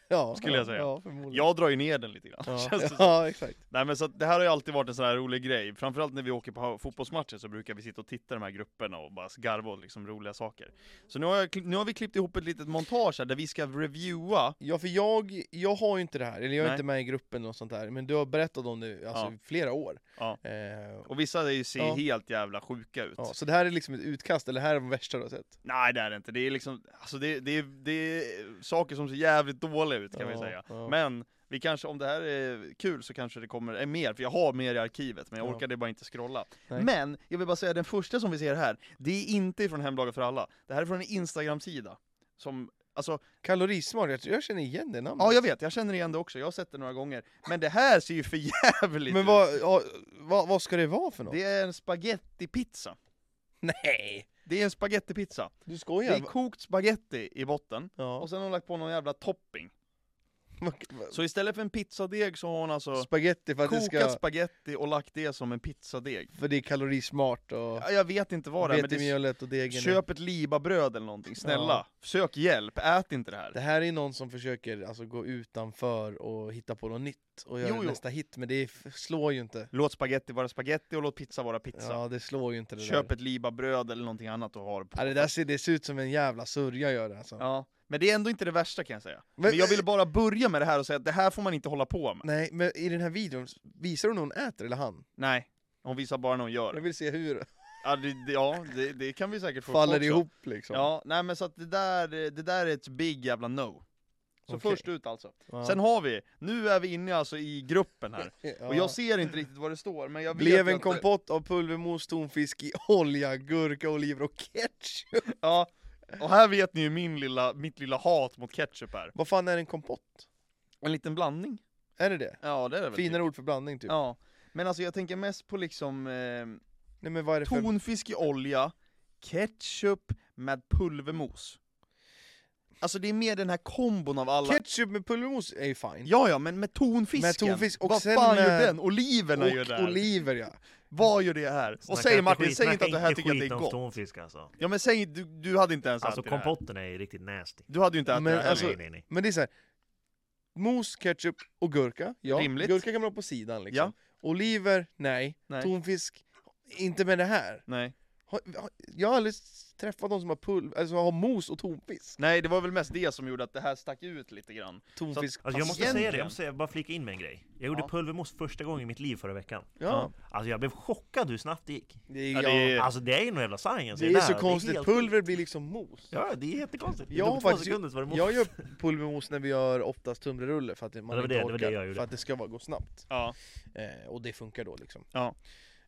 Ja,
Skulle jag säga.
Ja, förmodligen.
Jag drar ju ner den lite grann.
Ja,
Känns det som.
ja exakt.
Nej men så att det här har ju alltid varit en sån här rolig grej. Framförallt när vi åker på fotbollsmatcher så brukar vi sitta och titta i de här grupperna och bara garva åt liksom roliga saker. Så nu har, jag, kli- nu har vi klippt ihop ett litet montage här där vi ska reviewa
Ja, för jag, jag har ju inte det här, eller jag är
Nej.
inte med i gruppen och sånt där, men du har berättat om det alltså,
Ja.
i flera år.
Ja.
Eh, och,
Och vissa är ju- ser
Ja.
helt jävla sjuka ut.
ja, så det här är liksom ett utkast, eller det här är de värsta du har sett?
Nej det är det inte, det är liksom, alltså det, det, är- det är saker som ser jävligt dåliga ut kan vi
Ja,
säga.
ja.
Men vi kanske, om det här är kul så kanske det kommer är mer, för jag har mer i arkivet men jag
Ja.
orkade bara inte scrolla.
Nej.
Men, jag vill bara säga den första som vi ser här, det är inte från Hemlagar för alla. Det här är från en Instagram-sida. Som, alltså,
Kalorismart, jag, jag känner igen det namnet.
ja jag vet, jag känner igen det också, jag har sett det några gånger. Men det här ser ju för jävligt
men
ut.
vad, ja, vad, vad ska det vara för något?
Det är en spagettipizza.
Nej!
Det är en spagettipizza.
Du
Det
skojar?
är kokt spagetti i botten.
ja.
Och sen har hon lagt på någon jävla topping. Så istället för en pizzadeg så har hon alltså
Spaghetti för att det
kokat
ska...
spaghetti och lagt det som en pizzadeg.
För det är kalorismart och
Ja, Jag vet inte vad det är, men det är,
vetemjölet och degen. är-
köp ett libabröd eller någonting, snälla.
Ja.
Sök hjälp, ät inte det här.
Det här är någon som försöker alltså, gå utanför och hitta på något nytt och göra
Jo, jo.
nästa hit, men det f- slår ju inte.
Låt spaghetti vara spaghetti och låt pizza vara pizza.
Ja, det slår ju inte det
Köp
där.
ett libabröd eller någonting annat och ha det på.
Ja, det där ser, det ser ut som en jävla sörja gör det alltså.
Ja. Men det är ändå inte det värsta kan jag säga.
Men-
Men, jag ville bara börja med det här och säga att det här får man inte hålla på med.
Nej, men i den här videon, visar hon när hon äter eller han?
Nej. Hon visar bara när hon gör
Jag
det.
vill se hur
Ja, det, det- ja, det, det kan vi säkert få upp
faller
också.
ihop liksom.
Ja, nej men så att det där, det där är ett big jävla no. Så
Okej.
först ut alltså.
Ja.
Sen har vi, nu är vi inne alltså i gruppen här.
Ja.
Och jag ser inte riktigt vad det står, men jag vet
Blev
ju
en
att-
kompott av pulvermos, tonfisk i olja, gurka, oliver och ketchup.
Ja, och här vet ni ju min lilla, mitt lilla hat mot ketchup här.
Vad fan är en kompott?
En liten blandning.
Är det det?
Ja, det är det väl.
Finare
typ.
ord för blandning typ.
Ja. Men alltså jag tänker mest på liksom eh,
Nej men vad är det för...
tonfisk i olja, ketchup med pulvermos. Alltså det är mer den här kombon av alla...
Ketchup med pulvermos är ju fine.
Ja, ja, men med tonfisken.
Med tonfisk och
Vad
sen
fan gör
med-
den? Oliverna gör det
Och
här.
oliver ja.
Vad gör det här? Och
Snacka
säg
inte
Martin,
skit,
säg inte
snacka
att det här tycker att det
skit
är
om
gott.
Tonfisk alltså.
Ja men säg, du, du hade inte ens
Alltså
ätit det här.
kompotten är ju riktigt nasty.
Du hade ju inte ätit
Men
det här.
alltså-
nej, nej, nej.
Men det är så här. mos, ketchup och gurka, ja.
Rimligt.
Gurka kan man ha på sidan liksom. Oliver, nej.
Nej.
Tonfisk, inte med det här.
nej.
Har, har, jag har aldrig träffat någon som har, pulv, alltså, har mos och tonfisk.
Nej, det var väl mest det som gjorde att det här stack ut lite grann.
Tonfisk.
Alltså jag måste säga det,
Egentligen.
jag måste säga, bara flika in med en grej. Jag gjorde
Ja.
pulvermos första gången i mitt liv förra veckan.
ja.
Alltså jag blev chockad hur snabbt det gick.
Det är,
Ja,
ja,
det är-
Alltså det är ju någon jävla science i
det är
där.
så konstigt,
helt-
pulver blir liksom mos.
Ja, det är jättekonstigt.
Jag
Jag
har
två
faktiskt-
sekunder så var det mos.
Jag gör pulvermos när vi gör oftast tunnbrödsrulle för att man
Ja, det var
inte
det- det
orkar,
var det jag gjorde.
för att det ska bara gå snabbt.
Ja.
Eh, och det funkar då liksom.
Ja.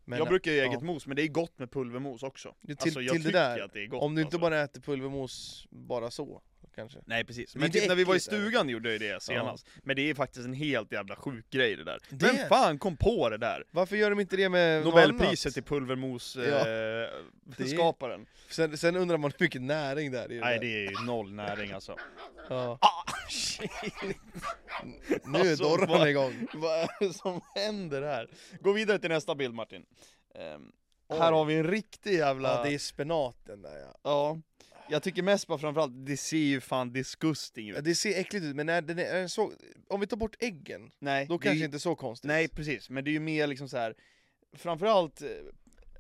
Men
jag brukar ju
ja.
eget mos, men det är gott med pulvermos också.
till,
alltså, jag
till det
tycker
där,
att det är gott.
om du inte
alltså.
bara äter pulvermos bara så, kanske.
Nej precis,
Det är
men
inte
typ när vi var i
äckligt, eller?
stugan gjorde jag det senast Men det är faktiskt en helt jävla sjuk grej det där
Det-
Vem fan kom på det där?
Varför gör de inte det med något
Nobelpriset
annat?
till pulvermos
Ja.
eh,
Det-
skaparen
Sen, sen undrar man hur mycket näring det är i
Nej
där.
det är ju noll näring alltså
Ja.
Shit,
Nu är
Alltså,
Dorran
vad-
igång.
Vad är det som händer här? Gå vidare till nästa bild Martin Ehm, Här har vi en riktig jävla...
Ja, det är spenaten där ja.
Ja. Jag tycker mest bara framförallt, det ser ju fan disgusting ut
Ja, Det ser äckligt ut, men när den är, är den så, om vi tar bort äggen,
Nej,
då
det är
kanske
ju-
inte så konstigt.
Nej precis, men det är ju mer liksom så här. Framförallt, eh,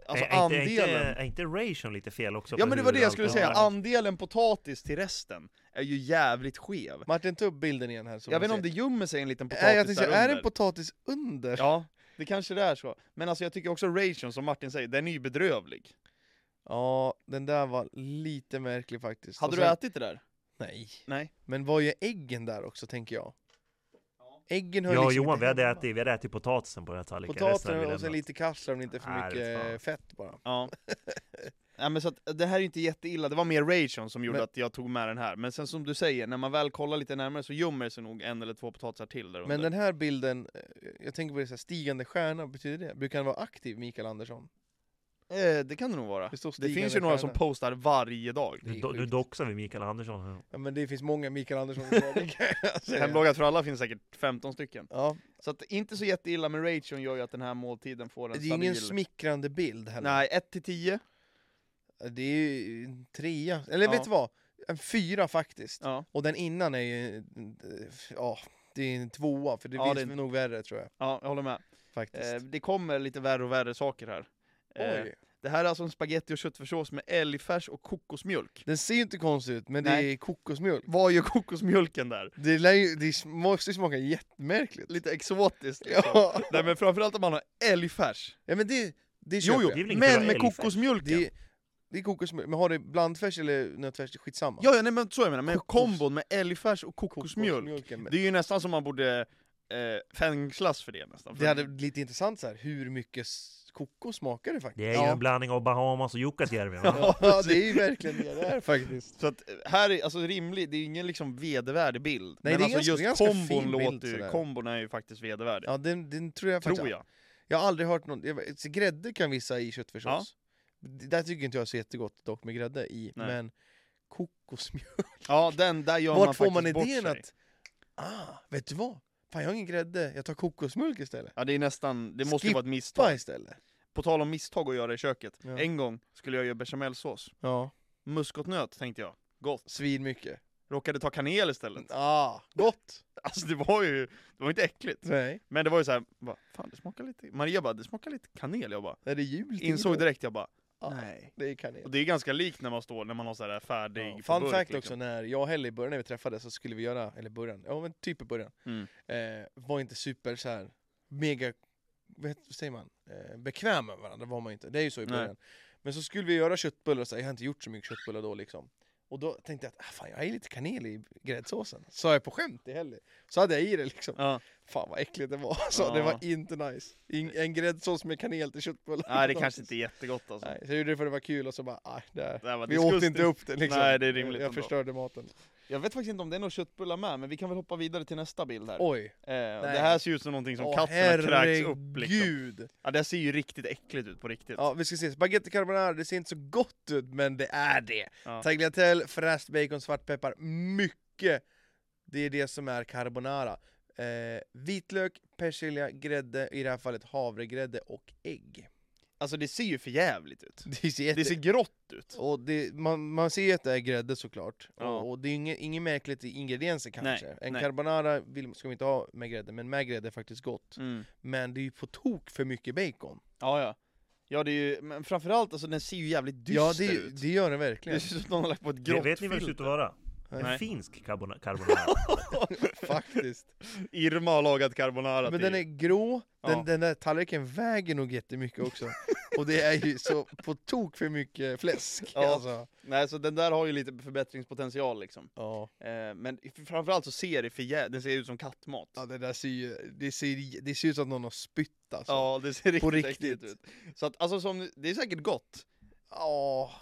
alltså
Är- är, inte-
andelen
Är inte, är inte ration lite fel också?
Ja
på
men det
hur
var det jag
allt
skulle
det
säga,
här?
andelen potatis till resten är ju jävligt skev.
Martin, ta upp bilden igen här. så
Jag
man
vet inte
ser.
om det gömmer sig en liten potatis
Nej, jag tänkte,
där
säga, är det
under.
en potatis under?
Ja, det kanske det är så. Men alltså jag tycker också ration, som Martin säger, den är ju bedrövlig.
Ja, den där var lite märklig faktiskt.
Hade
Och
du
Alltså, sen-
ätit det där?
Nej.
Nej.
Men var ju äggen där också, tänker jag? Äggen
Jag
hör
och
liksom
Johan,
inte
vi hade,
hemma.
ätit, vi hade ätit potatisen på den här tallriken. Resten hade
Potatisen
vi
och sen
lämnat.
lite kassler om det inte är
Nej,
för
det är
mycket
fan.
fett bara.
Ja. Nej men så att, det här är ju inte jätteilla, det var mer ration som gjorde
Men-
att jag tog med den här. Men sen som du säger, när man väl kollar lite närmare så gömmer det sig nog en eller två potatisar till där under.
Men den här bilden, eh, jag tänker på det så här, stigande stjärna, betyder det? Brukar han vara aktiv, Mikael Andersson?
eh, det kan det nog vara.
Det står
Det
stigande
finns ju några som
stjärna.
postar varje dag.
Det är
Nu, do, nu
sjukt.
doxar vi Mikael Andersson.
Ja, men det finns många Mikael Andersson i Sverige, kan jag säga.
Hemlagat för alla finns säkert 15 stycken.
Ja,
Så att inte så jätteilla, men ration gör ju att den här måltiden får en
det är ju ingen
stabil...
smickrande bild heller.
Nej, 1 till 10.
Det är ju en trea, eller
Ja.
vet du vad? En fyra faktiskt.
Ja.
Och den innan är ju, eh, ja, det är en tvåa, för det
Ja,
finns
det är-
nog värre tror jag.
ja, jag håller med.
Faktiskt.
Eh, det kommer lite värre och värre saker här. Eh,
Oj.
det här är alltså en spaghetti och köttfärssås med älgfärs och kokosmjölk.
Den ser ju inte konstig ut, men det
Nej.
är kokosmjölk.
Vad gör kokosmjölken där?
Det, lär ju, det sm- måste ju smaka jättemärkligt.
Lite exotiskt liksom.
Ja.
Nej men framförallt om man har älgfärs.
ja, men det, det
Jo
köper
jo,
jag.
Det är väl
men
inget bra
med
älgfärs.
kokosmjölken.
Det, är- det är kokosmjölk, men har du blandfärs eller nötfärs, det är skitsamma.
Ja, ja nej, men så är det men
Kokos-
kombon med älgfärs och kokosmjölk.
Kokosmjölken, men-
Det är ju nästan som man borde eh, fängslas för det nästan. För
Det hade varit lite intressant så här, hur mycket s- kokos smakar det faktiskt?
Det är ju
Ja.
en blandning av Bahamas och Jukkasjärvi. va?
Ja, det är ju verkligen det det är faktiskt.
Så att eh, här är, alltså rimlig, det är ju ingen liksom vedervärdig bild.
Nej,
men
det är
alltså
ganska-
just
ganska fin
kombon
bild
låter ju,
sådär.
kombon är ju faktiskt vedervärdig.
Ja, den, den tror jag faktiskt.
tror jag.
Jag har aldrig hört någon, jag vet- grädde kan vissa i
Ja.
köttfärssås. Det där tycker inte jag är så jättegott dock med grädde i,
Nej.
men kokosmjölk.
Ja, den, där gör
Vart
man
får
faktiskt
man
bort
idén
sig.
att, ah, vet du vad? Fan jag har ingen grädde, jag tar kokosmjölk istället.
Ja, det är nästan, det måste ju
Skippa
vara ett misstag.
Ta istället.
På tal om misstag att göra i köket.
Ja.
En gång skulle jag göra bechamelsås.
Ja,
Muskotnöt tänkte jag. Gott.
svin mycket.
Råkade ta kanel istället.
Ah, gott!
Alltså det var ju, det var inte äckligt.
Nej,
Men det var ju såhär, bara, fan det smakar lite, Maria bara, det smakar lite kanel. Jag bara,
är det jul till
insåg
då?
direkt, jag bara,
Ja.
nej.
Det är
Och
kanel.
det är ganska likt när man står, när man har sådär färdig
Ja,
på
fun
burk,
fact
liksom.
också, när jag och Helle i början när vi träffades så skulle vi göra, eller början, ja men typ i början,
Mm.
eh, var inte super så här mega, vad heter- vad säger man, eh, bekväm med varandra var man ju inte, det är ju så i
Nej.
början. Men så skulle vi göra köttbullar, och så här, jag har inte gjort så mycket köttbullar då liksom. Och då tänkte jag att ah, fan, jag har ju lite kanel i gräddsåsen, sa jag på skämt i Helle. Så hade jag i det liksom.
Ja.
Fan vad äckligt det var, så det
Ja.
var inte nice. In, en gräddsås med kanel till köttbullar.
Nej det kanske inte är jättegott alltså.
Nej, så jag gjorde det för att det var kul och så bara, ah, det här.
Det här var
Vi åt
disgusting.
inte upp det liksom.
Nej, det är rimligt
Jag
ändå.
förstörde maten.
Jag vet faktiskt inte om det är några köttbullar med, men vi kan väl hoppa vidare till nästa bild här.
Oj.
eh, det här ser ut som någonting som
Åh,
katten har kräkts upp liksom.
herregud.
Ja, det här ser ju riktigt äckligt ut på riktigt.
Ja, vi ska se. Spaghetti carbonara, det ser inte så gott ut, men det är det.
Ja.
Tagliatelle, fräst bacon, svartpeppar, mycket. Det är det som är carbonara. Eh, vitlök, persilja, grädde, i det här fallet havregrädde och ägg.
Alltså det ser ju för jävligt ut.
Det ser, jätte...
Det ser grått ut.
och det, man, man ser ju att det är grädde såklart,
Ja.
och, och det är inget, inget märkligt i ingredienser kanske. en
nej.
carbonara vill, ska vi inte ha
Mm.
med grädde, men med grädde är faktiskt gott. Men det är ju på tok för mycket bacon.
Ja, ja. Ja det är ju, men framförallt alltså den ser ju jävligt dyster
Ja
ut.
det, det gör den verkligen.
Det ser ut som att någon har lagt på ett
Det
grått
vet ni vad det ser ut att vara? En
Nej.
finsk carbona- carbonara.
Faktiskt.
Irma har lagat carbonara
Men
till.
den är grå, den,
Ja.
den där tallriken väger nog jättemycket också. Och det är ju så på tok för mycket fläsk.
Ja.
Alltså.
Nej så den där har ju lite förbättringspotential liksom.
Ja.
Eh, men i- framförallt så ser det för jä- den ser ut som kattmat.
ja, det där ser ju, det ser, det ser ut som att någon har spytt alltså.
Ja det ser riktigt,
På
äckligt
riktigt.
ut. Så att alltså som, det är säkert gott.
Ja,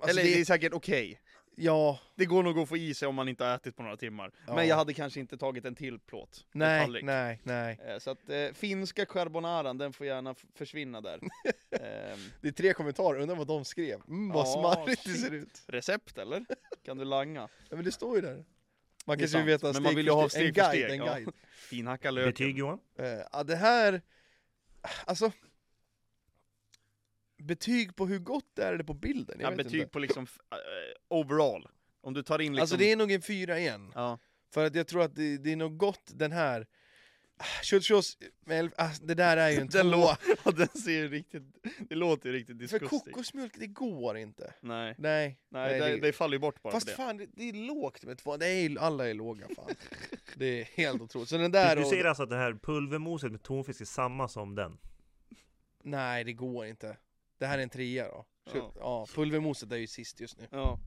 alltså
Eller
det,
det är säkert okej.
ja,
Det går nog att få i sig om man inte har ätit på några timmar.
Ja.
Men jag hade kanske inte tagit en till plåt. och
nej,
tallrik.
nej, nej.
Eh, Så att eh, finska carbonaran, den får gärna f- försvinna där. Ehm,
Det är tre kommentarer, undrar vad de skrev. Mm, vad
Ja,
smarrigt det
shit.
ser ut.
recept eller? Kan du langa?
Ja, men det står ju där. Man
Det är
kanske vill
sant,
veta
men man
steg
vill
för
ju ha
en
steg för
guide,
steg,
en
ja.
guide.
Finhacka löken.
Betyg Johan?
Eh, Ja, det här... Alltså... Betyg på hur gott det är eller på bilden? Jag
Ja,
vet
betyg
inte.
på liksom f- eh, overall. Om du tar in liksom...
Alltså det är nog en fyra igen.
ja.
För att jag tror att det, det är något gott den här... Ah, Chuchos... med elf- ah, Det där är ju en
Den,
tvåa.
lå- ja, den ser ju riktigt... Det låter ju riktigt
För
disgusting.
kokosmjölk, det går inte.
Nej,
Nej.
nej, det,
det-
det faller ju bort bara
Fast
för det.
fan, det, det är lågt med två. Det är, alla är låga fan. Det är helt otroligt. Så den
Du,
där
du
och-
säger alltså att det här pulvermoset med tonfisk är samma som den?
Nej, det går inte. Det här är en trea då. Så, ja.
Ja.
pulvermoset är ju sist just nu,
Ja.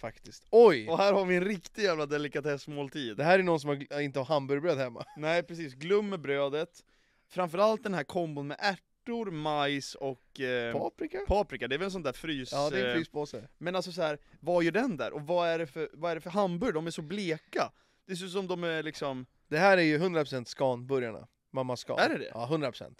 faktiskt. Oj!
Och här har vi en riktig jävla delikatessmåltid.
Det här är någon som har, gl- inte har hamburgerbröd hemma.
Nej precis, glöm med brödet. Framförallt den här kombon med ärtor, majs och eh,
Paprika?
paprika. Det är väl en sån där frys...
Ja, det är en
eh,
fryspåse.
Men alltså så här, vad gör den där? Och vad är det för, vad är det för hamburgare? De är så bleka. Det ser ut som de är liksom...
Det här är ju 100% skanburgarna. Mamma Scan.
Är det det?
Ja, 100%.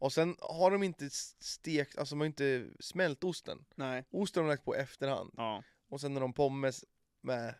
Och sen har de inte stekt, alltså de har inte smält osten.
Nej.
Osten har de lagt på efterhand.
Ja.
Och sen har de pommes med...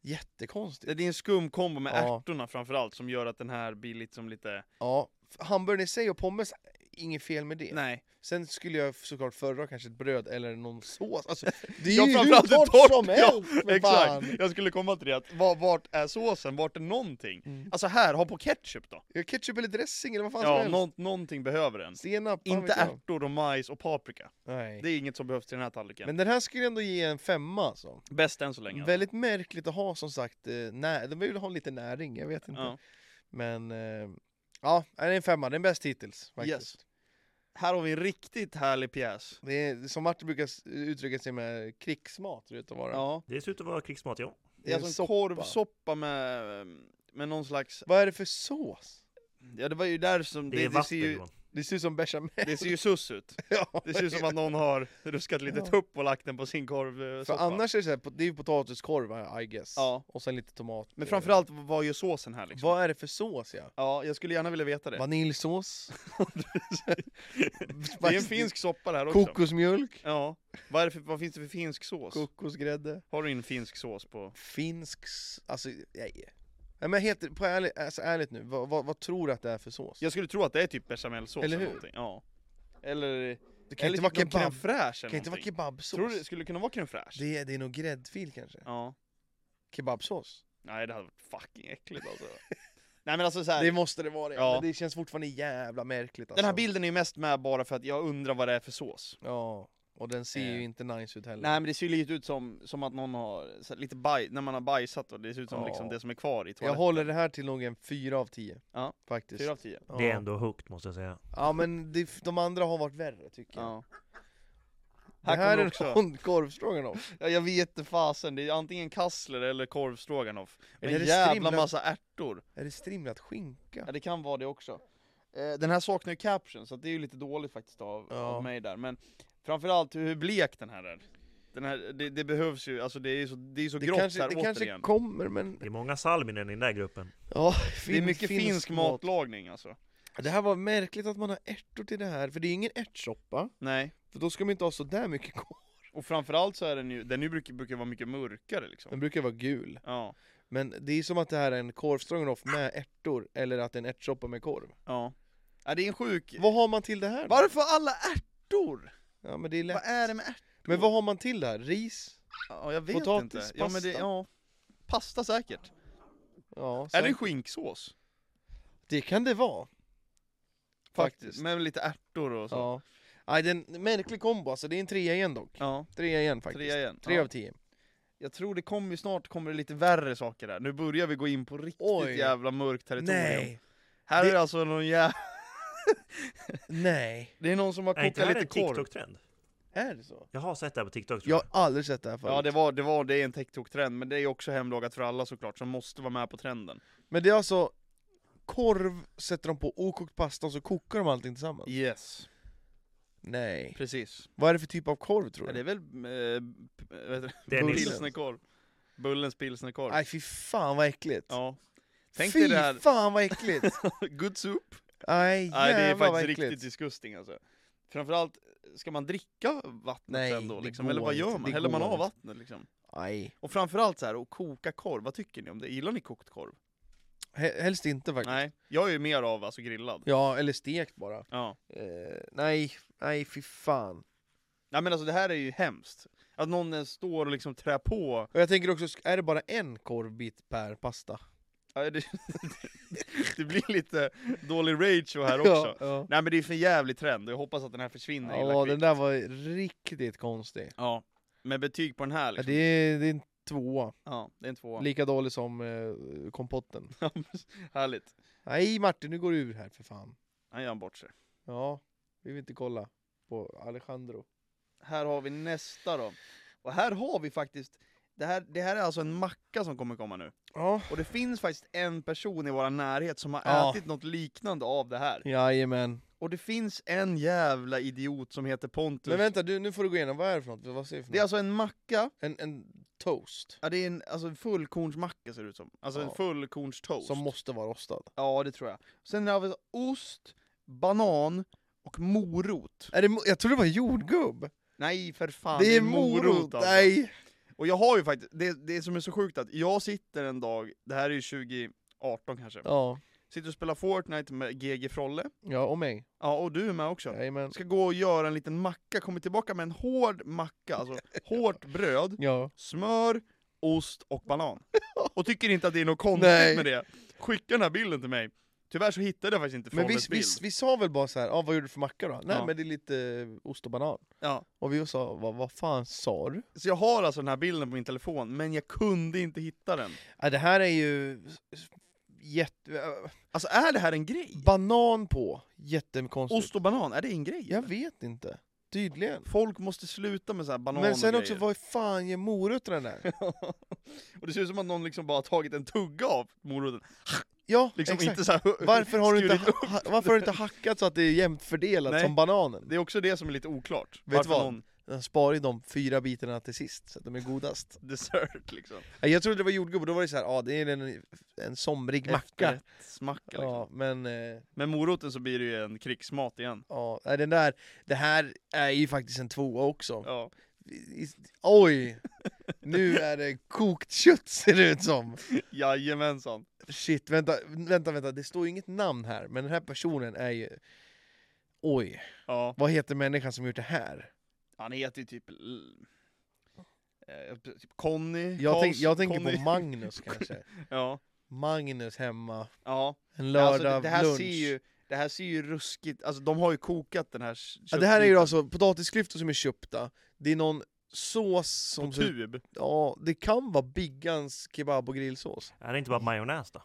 Jättekonstigt.
Det det är en skum kombo med
Ja.
ärtorna framförallt som gör att den här blir liksom lite...
Ja, f- hamburgaren i sig och pommes, inget fel med det.
Nej.
Sen skulle jag såklart föredra kanske ett bröd eller någon sås. Alltså, det är
Ja,
ju hur
framförallt
torrt
torrt,
som
ja,
helst! för
Exakt!
fan.
Jag skulle komma till det, att var, vart är såsen? Vart är någonting?
Mm.
Alltså här, ha på ketchup då!
Ja, Ketchup eller dressing eller vad fan som
Ja,
helst.
nå- någonting behöver den.
Senap, fan
Inte
vet jag.
ärtor och majs och paprika.
Nej.
Det är inget som behövs till den här tallriken.
Men den här skulle jag ändå ge en femma alltså.
Bäst än så länge. alltså.
Väldigt märkligt att ha som sagt, eh, när, de vill ha lite näring, jag vet inte.
alltså. Ja.
Men eh, ja, det är en femma, den är bäst hittills faktiskt.
Yes. Här har vi en riktigt härlig pjäs.
Det är, som Martin brukar s- uttrycka sig med, krigsmat ser det ut att vara.
Ja.
Det ser ut att vara krigsmat, ja.
Det är alltså en
soppa.
korvsoppa med, med någon slags...
Vad är det för sås?
Ja det var ju där som...
Det,
Det, det,
är vatten
ser, ju,
Johan.
Det ser ut som bechamel.
det ser ju sus ut.
Ja,
Det ser ut som att någon har ruskat lite
Ja.
tupp och lagt den på sin eh,
För
korvsoppa.
annars är det, så här, po- det är ju potatiskorv I guess.
Ja.
Och sen lite tomat.
Men framförallt, vad gör såsen här liksom?
Vad är det för sås ja?
Ja, jag skulle gärna vilja veta det.
Vaniljsås?
Det är en finsk soppa det här också.
Kokosmjölk?
Ja. Vad, är det för, vad finns det för finsk sås?
Kokosgrädde?
Har du en finsk sås på...
Finsk... s- Alltså, nej. Nej men heter, på ärligt, alltså, ärligt nu, vad, vad, vad tror du att det är för sås?
Jag skulle tro att det är typ bechamelsås
Eller
eller,
hur?
någonting. Ja. Eller...
det kan
eller
inte vara
typ någon crème
kebab.
fraîche
Kan
eller
inte vara
någonting.
kebabsås?
Tror du det skulle kunna vara crème fraîche?
det, är, det är nog gräddfil kanske?
Ja.
Kebabsås?
Nej det hade varit fucking äckligt alltså. Nej men alltså så här,
Det måste det vara ja.
Ja.
men det känns fortfarande jävla märkligt alltså.
den här bilden är ju mest med bara för att jag undrar vad det är för sås.
Ja, och den ser ju
Eh.
inte nice ut heller.
Nej men det ser ju lite ut som, som att någon har, så här, lite baj, när man har bajsat och det ser ut som
Ja.
liksom det som är kvar i
Jag
toaletten.
håller det här till nog en 4 av 10.
Ja,
Faktiskt.
Fyra av tio.
Ja.
Det är ändå högt måste jag säga.
ja men det, de andra har varit värre tycker jag.
Ja.
Det
Här
här
kommer
är
också,
någon korvstroganoff.
ja, jag vet inte fasen, det är antingen kassler eller korvstroganoff.
Eller är
En
det
jävla
strimlad-
massa ärtor.
Är det strimlat
Ja
skinka?
det kan vara det också. Eh, den här saknar ju caption så att det är ju lite dåligt faktiskt av,
Ja.
av mig där. Men framförallt hur hur blek den här är. Den här, det, det behövs ju, alltså det är ju så, det är ju så
Det
grått
kanske,
här
det kanske
återigen.
kommer men...
Det är många salminen i den där gruppen.
Ja,
det är
fin-
mycket finsk, matlagning alltså.
Det här var märkligt att man har ärtor till det här, för det är ingen ärtsoppa.
Nej.
För då ska man inte ha sådär mycket korv.
Och framförallt så är den ju, den ju brukar, brukar vara mycket mörkare liksom.
Den brukar vara gul.
Ja,
Men det är som att det här är en korvstroganoff med ärtor, eller att det är en ärtsoppa med korv.
ja. Ja det är en sjuk...
Vad har man till det här då?
Varför alla ärtor?
Ja men det är lätt.
Vad är det med ärtor?
Men vad har man till det här? Ris?
Ja jag vet
Potatis,
inte. Ja, men det,
pasta.
ja. Pasta säkert.
Ja,
Är det
säkert.
skinksås?
det kan det vara. Faktiskt.
Med lite ärtor och så.
Ja. Aj, det är en märklig kombo alltså, det är en trea igen dock.
Ja,
Trea igen faktiskt.
trea igen.
Tre
ja.
av tio.
Jag tror det kommer ju snart kommer det lite värre saker där. Nu börjar vi gå in på riktigt
Oj.
jävla mörkt territorium.
Nej,
Här är
Det-
det alltså någon jävla...
nej.
Det är någon som har
Är inte
kokat
det här
lite
en
korv.
TikTok-trend?
Är det så?
Jag har sett det här på TikTok tror
Jag
jag.
har aldrig sett det här förut.
Ja det var, det var, det är en TikTok-trend, men det är också hemlagat för alla såklart, som måste vara med på trenden.
Men det är alltså, korv sätter de på okokt pasta och så kokar de allting tillsammans?
Yes,
Nej.
precis.
Vad är det för typ av korv tror
Ja,
du?
det är väl, eh, p- vad heter det?
Det är Nissens.
Pilsnerkorv. Bullens pilsnerkorv.
Nej fy fan vad äckligt.
Ja. Tänk
fy
dig det här,
fan vad äckligt!
good soup.
Nej
Nej det är
jävlar vad
faktiskt
äckligt.
riktigt disgusting alltså. Framförallt, ska man dricka vattnet
Nej,
sen då
det
liksom?
går
Eller vad gör
inte,
man?
det
Häller man
går
av
inte.
vattnet liksom?
Nej.
Och framförallt så här, och koka korv, vad tycker ni om det? Gillar ni kokt korv?
He- Helst inte faktiskt.
Nej, jag är ju mer av alltså grillad.
Ja, eller stekt bara.
Ja.
Eh, nej, nej fy fan.
Nej men alltså det här är ju hemskt. Att någon ens står och liksom trär på.
Och jag tänker också, sk- är det bara en korvbit per pasta?
Ja, Det, det blir lite dålig rage här också.
Ja, ja.
Nej men det är för jävlig trend och jag hoppas att den här försvinner illa
ja
kvickt.
den där var riktigt konstig.
Ja, med betyg på den här
Ja,
liksom.
det, är, det är en tvåa,
Ja, det är en tvåa.
lika dålig som eh, kompotten.
Härligt.
Nej Martin, nu går du ur här för fan.
Han gör han bort sig.
Ja, vi vill inte kolla på Alejandro.
Här har vi nästa då. Och här har vi faktiskt, det här, det här är alltså en macka som kommer komma nu.
Ja.
Och det finns faktiskt en person i vår närhet som har
Ja.
ätit något liknande av det här.
Jajamän.
Och det finns en jävla idiot som heter Pontus.
Men vänta, du, nu får du gå igenom, vad är det för något? Vad ser vi för
Det är
något?
alltså en macka,
En, en toast,
ja, det är en alltså en fullkornsmacka ser det ut som. Alltså en
Ja.
fullkornstoast.
som måste vara rostad.
Ja, det tror jag. Sen har vi ost, banan och morot.
Är det, mo- jag trodde det var jordgubb!
Nej för fan,
det är morot!
alltså.
Nej!
Och jag har ju faktiskt, det, det som är så sjukt att jag sitter en dag, det här är ju 2018 kanske,
Ja,
sitter och spelar Fortnite med GG Frolle,
ja och mig.
ja och du är med också.
Jajamän.
Ska gå och göra en liten macka, kommer tillbaka med en hård macka, alltså hårt bröd,
Ja.
smör, ost och banan. Och tycker inte att det är något konstigt
Nej.
med det. Skicka den här bilden till mig. Tyvärr så hittade jag faktiskt inte
Men vi,
Frolles
vi,
bild.
vi sa väl bara så här, ah, vad gjorde du för macka då? Nej
Ja.
men det är lite eh, ost och banan.
Ja.
Och vi sa, vad, vad fan sa du?
Så jag har alltså den här bilden på min telefon, men jag kunde inte hitta den.
Ja, det här är ju s- jätte... äh,
Alltså är det här en grej?
Banan på, jättekonstigt.
Ost och banan, är det en grej?
Jag
eller?
vet inte, tydligen.
Folk måste sluta med så här banan
Men sen
och
också, vad fan ger morötterna där?
Och det ser ut som att någon liksom bara har tagit en tugga av moroten.
Ja,
Liksom
exakt.
inte så här,
Varför har, du inte,
skurit upp.
ha, varför har du inte hackat så att det är jämnt fördelat
Nej.
som bananen?
Det är också det som är lite oklart.
du
Varför
vad?
någon
Den sparar ju de fyra bitarna till sist, så att de är godast.
dessert liksom.
Ja, Jag trodde det var jordgubb, och då var det så här, ja ah, det är en, en somrig macka.
Efterrättsmacka liksom.
Ja, men... Eh,
Med moroten så blir det ju en krigsmat igen.
Ja, nej, den där, det här är ju faktiskt en tvåa också.
Ja.
I- i- Oj! Nu är det kokt kött ser det ut som.
Jajamensan.
Shit, vänta, vänta, vänta. Det står ju inget namn här, men den här personen är ju... Oj,
Ja.
vad heter människan som gjort det här?
Han heter ju typ... L- eh, typ Conny.
Jag, tänk,
Karls-
jag tänker
Conny.
på Magnus kanske.
Ja.
Magnus hemma,
Ja.
en
Men
lördag,
alltså, det, det här
lunch.
ser ju... Det här ser ju ruskigt, alltså de har ju kokat den här
ja, det här är ju alltså potatisklyftor som är köpta, det är någon sås som...
på
ser ut-
tub.
ja, det kan vara Biggans kebab och grillsås.
Är det inte bara majonnäs då?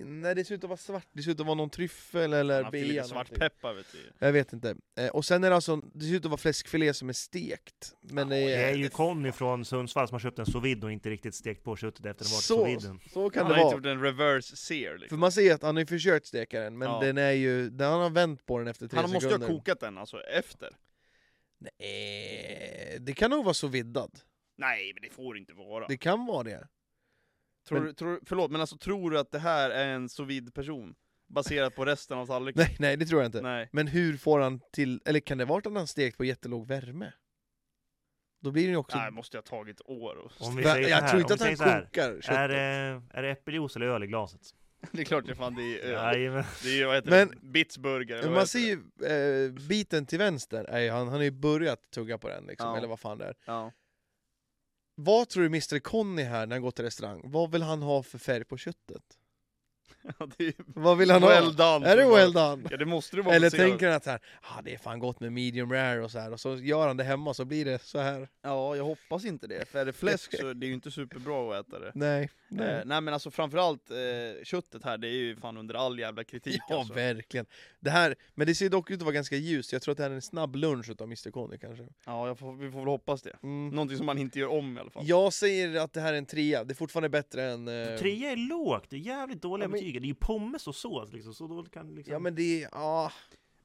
Nej det ser ut att vara svart, det ser ut att vara någon tryffel eller
Han fyller
bea
lite
någonting.
svartpeppar vet du.
Jag vet inte. Eh, och sen är det alltså, det ser ut att vara fläskfilé som är stekt. Men det
Det är
är,
ju Conny från Sundsvall som har köpt en sous vide och inte riktigt stekt på köttet efter den varit
Så-
sous viden.
så kan
Han
det
har inte
vara.
gjort en reverse sear
För
liksom.
man ser att han har ju försökt steka den, men
Ja.
den är ju, den han har vänt på den efter tre
Han måste ju
sekunder.
ha kokat den alltså efter.
Nej, Eh, det kan nog vara så viddad.
Nej men det får det inte vara.
Det kan vara det.
tror,
men-
du, tror, förlåt men alltså tror du att det här är en sous vide person? Baserat på resten av tallriken?
Nej, nej det tror jag inte.
Nej.
Men hur får han till, eller kan det vara att han stekt på jättelåg värme? Då blir den ju också...
Nej, måste jag ha tagit år och...
Om vi
jag
säger så här,
tror inte
om
att
vi säger
han
så här.
kokar köttet.
Är det, är det äppeljuice eller öl i glaset?
Det är klart det fan det är öl.
Jajamän.
Det är ju, vad heter det? Bitsburger eller
Men
vad
man
heter
ser
det?
ju, eh, biten till vänster, är ju, han, han har ju börjat tugga på den liksom,
Ja.
eller vad fan det är.
Ja.
Vad tror du Mr Conny här när han går till restaurang, vad vill han ha för färg på köttet?
Ja, det är
Vad vill han ha?
well done.
Är det well done?
Ja, det måste det vara.
Eller
om du ser-
tänker han att så här, ah, det är fan gott med medium rare och så här, och så gör han det hemma så blir det så här.
Ja, jag hoppas inte det. För är det fläsk så är det ju inte superbra att äta det.
Nej,
Nej,
nej.
eh, nej men alltså framförallt eh, köttet här, det är ju fan under all jävla kritik
Ja,
alltså.
verkligen. Det här, men det ser dock ut att vara ganska ljust, jag tror att det här är en snabb lunch utav Mr Conny kanske.
Ja, jag får, vi får väl hoppas det.
Mm.
Någonting som man inte gör om i alla fall.
Jag säger att det här är en trea, det är fortfarande bättre än... eh,
Trea är lågt, det är jävligt dåliga
Ja, men-
betyg. Det är ju pommes och sås liksom, så dåligt kan det liksom...
Ja men det är, ja,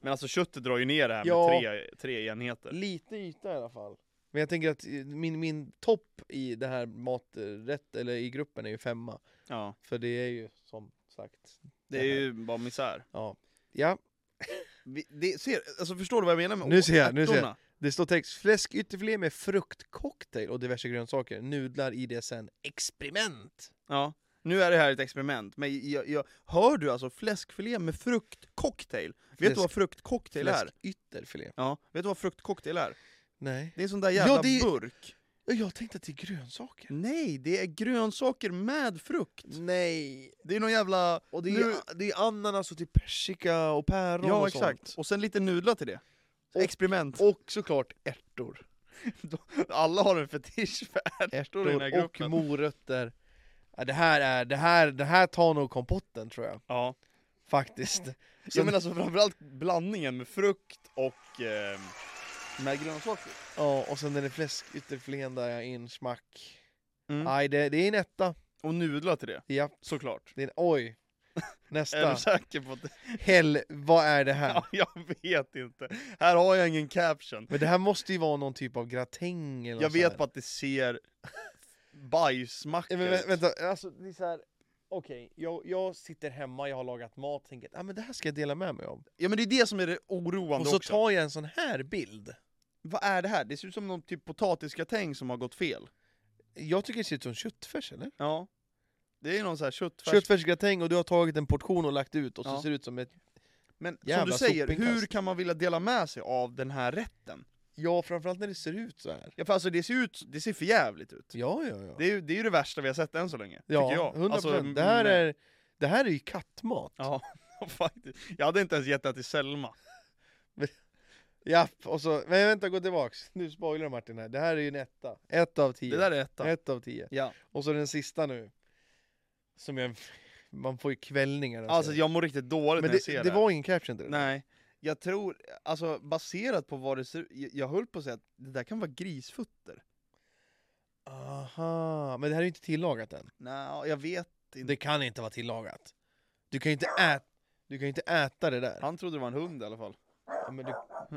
Men alltså köttet drar ju ner det här med
Ja.
tre, tre enheter.
lite yta i alla fall. Men jag tänker att eh, min, min topp i det här maträtt, eller i gruppen är ju femma.
Ja,
För det är ju som sagt,
det är ju bara misär.
ja. Ja,
Vi, det, ser, alltså förstår du vad jag menar med
Nu ser jag, nu ser jag.
ärtorna?
det står text fläsk ytterfilé med fruktcocktail och diverse grönsaker, nudlar i det sen experiment.
Ja. Nu är det här ett experiment, men jag, jag, hör du alltså fläskfilé med fruktcocktail? Vet
Fläsk-
du vad fruktcocktail är?
Fläsk ytterfilé.
Ja, vet du vad fruktcocktail är?
Nej.
Det är en sån där jävla
Ja, det är-
burk.
Ja, Jag tänkte att det är grönsaker.
Nej, det är grönsaker med frukt.
Nej.
Det är någon jävla...
Och
det
det
är-
är, det är ananas och typ persika och päron
Ja,
och
exakt.
sånt.
Och sen lite nudlar till det.
Och-
Experiment.
Och såklart ärtor.
Alla har en fetisch för ärtor i den här
Ärtor och
gruppen.
morötter. Ja, det, här är, det, här, det här tar nog kompotten tror jag.
ja.
Faktiskt.
Jag menar alltså framförallt blandningen med frukt och... Eh, med grönsaker.
Ja, och sen den är fläsk ytterfilén där jag in smack.
Mm.
Nej, det, det är en etta.
Och nudlar till det,
Ja,
såklart.
det är en oj.
Är du
Nästa.
säker på att det...
Hell, vad är det här?
Ja, jag vet inte. Här har jag ingen caption.
Men det här måste ju vara någon typ av gratäng eller
Jag
något så
vet
här.
bara att det ser bajsmackor
Ja, men vä-
ut.
vänta, alltså det är så här. Okej, jag, jag sitter hemma, jag har lagat mat, tänker att ah, men det här ska jag dela med mig av.
Ja men det är det som är det oroande
Och så
också.
tar jag en sån här bild.
Vad är det här? Det ser ut som någon typ potatisgratäng som har gått fel.
Jag tycker det ser ut som köttfärs eller?
Ja. Det är någon sån här köttfärs...
Köttfärsgratäng och du har tagit en portion och lagt ut och
Ja.
så ser det ut som ett...
Men som
Jävla
du säger,
sopinkast.
hur kan man vilja dela med sig av den här rätten?
Ja, framförallt när det ser ut så här.
Ja, för alltså det ser ut, det ser för jävligt ut.
Ja, ja, ja.
Det är, ju- det är ju det värsta vi har sett än så länge,
ja,
tycker jag.
100%.
Alltså,
det, här
men-
är, det här är ju kattmat.
Ja, faktiskt. Jag hade inte ens gett det till Selma.
Japp, och så... Men vänta, gå tillbaks. Nu spoilar Martin här. Det här är ju en etta. Ett av tio.
Det där är etta.
ett av tio.
Ja.
Och så den sista nu. Som jag... Man får ju kvällningar. när jag
Alltså
ser
jag mår riktigt
det.
dåligt
Men
när jag ser
det,
det,
det
här.
var ingen caption till det.
Nej. Jag tror, alltså baserat på vad det ser jag, jag höll på att säga att det där kan vara grisfötter.
Aha, men det här är ju inte tillagat än.
Nej, jag vet inte.
Det kan inte vara tillagat. Du kan ju inte äta, du kan ju inte äta det där.
Han trodde det var en hund i alla fall.
Ja, men du,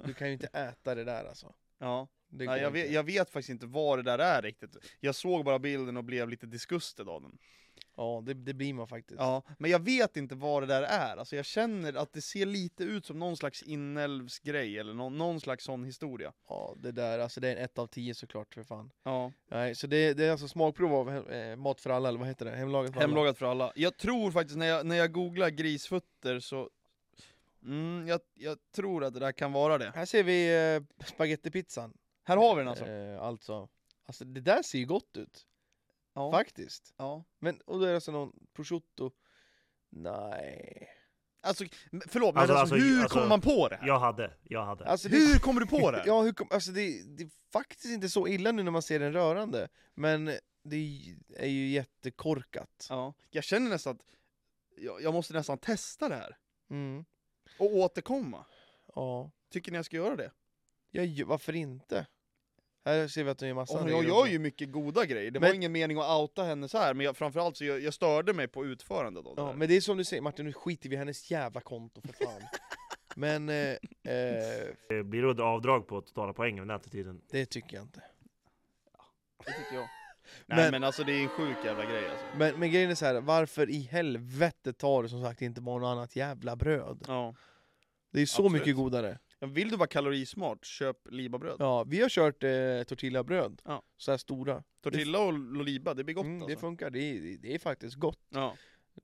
du kan ju inte äta det där alltså.
Ja.
Det
Nej,
går
jag, vet,
inte.
jag vet faktiskt inte vad det där är riktigt. Jag såg bara bilden och blev lite disgusted av den.
Ja, det, det blir man faktiskt.
Ja, men jag vet inte vad det där är. Alltså jag känner att det ser lite ut som någon slags inälvsgrej eller någon, någon slags sån historia.
Ja, det där, alltså det är en 1 av 10 såklart för fan.
Ja,
Nej, så det, det är alltså smakprov av he- eh, Mat för alla, eller vad heter det? Hemlagat för alla.
hemlagat för alla. Jag tror faktiskt när jag, när jag googlar grisfötter så... Mm, jag, jag tror att det där kan vara det.
Här ser vi eh, spagettipizzan.
Här har vi den alltså.
Eh, alltså. Alltså det där ser ju gott ut,
Ja.
faktiskt.
Ja.
Men, och då är det alltså någon prosciutto. Nej.
Alltså, men- förlåt, men
Alltså,
alltså,
alltså,
hur
alltså,
kommer man på det här?
Jag hade, jag hade.
Alltså, det-
Hur kommer du på det? här?
Ja, hur kom, alltså det, det är faktiskt inte så illa nu när man ser den rörande, men det är ju jättekorkat.
Ja, jag känner nästan att jag, jag måste nästan testa det här
Mm.
och återkomma.
Ja.
Tycker ni jag ska göra det?
Ja, ju- varför inte? Här ser vi att de gör massa
Oh,
andra
jag
grejer
gör
också.
ju mycket goda grejer, det var
Men-
ingen mening att outa henne så här, men jag, framförallt så jag, jag störde mig på utförandet av det
Ja,
där.
men det är som du säger Martin, nu skiter vi i hennes jävla konto för fan. men eh, eh,
Eh, Blir det avdrag på totala poängen med den attityden?
det tycker jag inte.
Det tycker jag. Nej men...
Men-
alltså det är en sjuk jävla grej alltså.
Men, men grejen är så här, varför i helvete tar du som sagt inte bara något annat jävla bröd?
Ja.
Det är så
Absolut.
mycket godare.
Ja, Vill du vara kalorismart, köp libabröd.
Ja, vi har kört eh, tortillabröd,
Ja.
så här stora.
Tortilla och loliba, det blir gott
Mm, det
alltså.
funkar, det är, det är faktiskt gott.
Ja,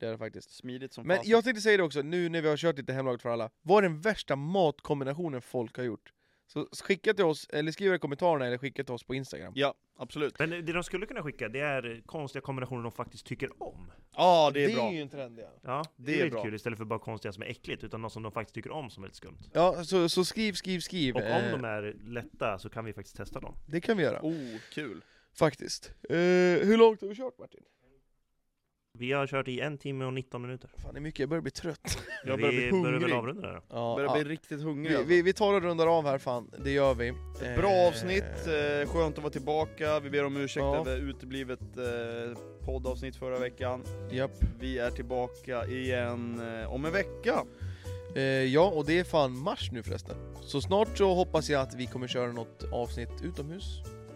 Det är det faktiskt.
smidigt som
Men
fasen.
jag tänkte säga det också, nu när vi har kört lite hemlagat för alla. Vad är den värsta matkombinationen folk har gjort? Så skicka till oss, eller skriv i kommentarerna eller skicka till oss på Instagram.
Ja, absolut.
Men det de skulle kunna skicka, det är konstiga kombinationer de faktiskt tycker om.
Ja, det är bra.
ju en trend ja.
Ja, det,
Det är
är, lite
bra.
kul istället för bara konstiga som är äckligt, utan något som de faktiskt tycker om som är lite skumt.
Ja, så, så skriv, skriv, skriv.
Och om
Eh,
de är lätta så kan vi faktiskt testa dem.
Det kan vi göra,
Oh, kul.
faktiskt. Eh, hur långt har vi kört Martin?
Vi har kört i en timme och 19 minuter.
Fan det är mycket, jag börjar bli trött.
Jag börjar bli
vi börjar väl
hungrig.
avrunda där. då.
Ja,
Börjar bli
ja.
riktigt hungrig
Vi,
alltså.
vi, vi tar och rundar av här fan, det gör vi.
Ett bra
Eh,
avsnitt, eh, skönt att vara tillbaka. Vi ber om ursäkt
Ja.
över uteblivet eh, poddavsnitt förra veckan.
Japp.
Vi är tillbaka igen eh, om en vecka.
Eh, ja, och det är fan mars nu förresten. Så snart så hoppas jag att vi kommer köra något avsnitt utomhus,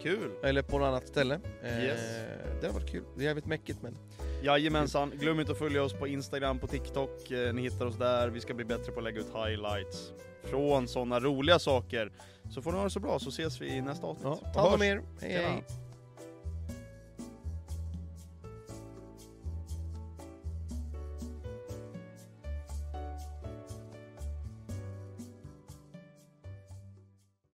Kul!
eller på något annat ställe.
Yes.
Eh, det har varit kul, det är jävligt mäckigt men
Jajamensan, glöm inte att följa oss på Instagram, på TikTok. Eh, Ni hittar oss där. Vi ska bli bättre på att lägga ut highlights från sådana roliga saker. Så får ni ha det så bra så ses vi i nästa avsnitt.
ja, ta hand om er, hej
Tjena.
hej!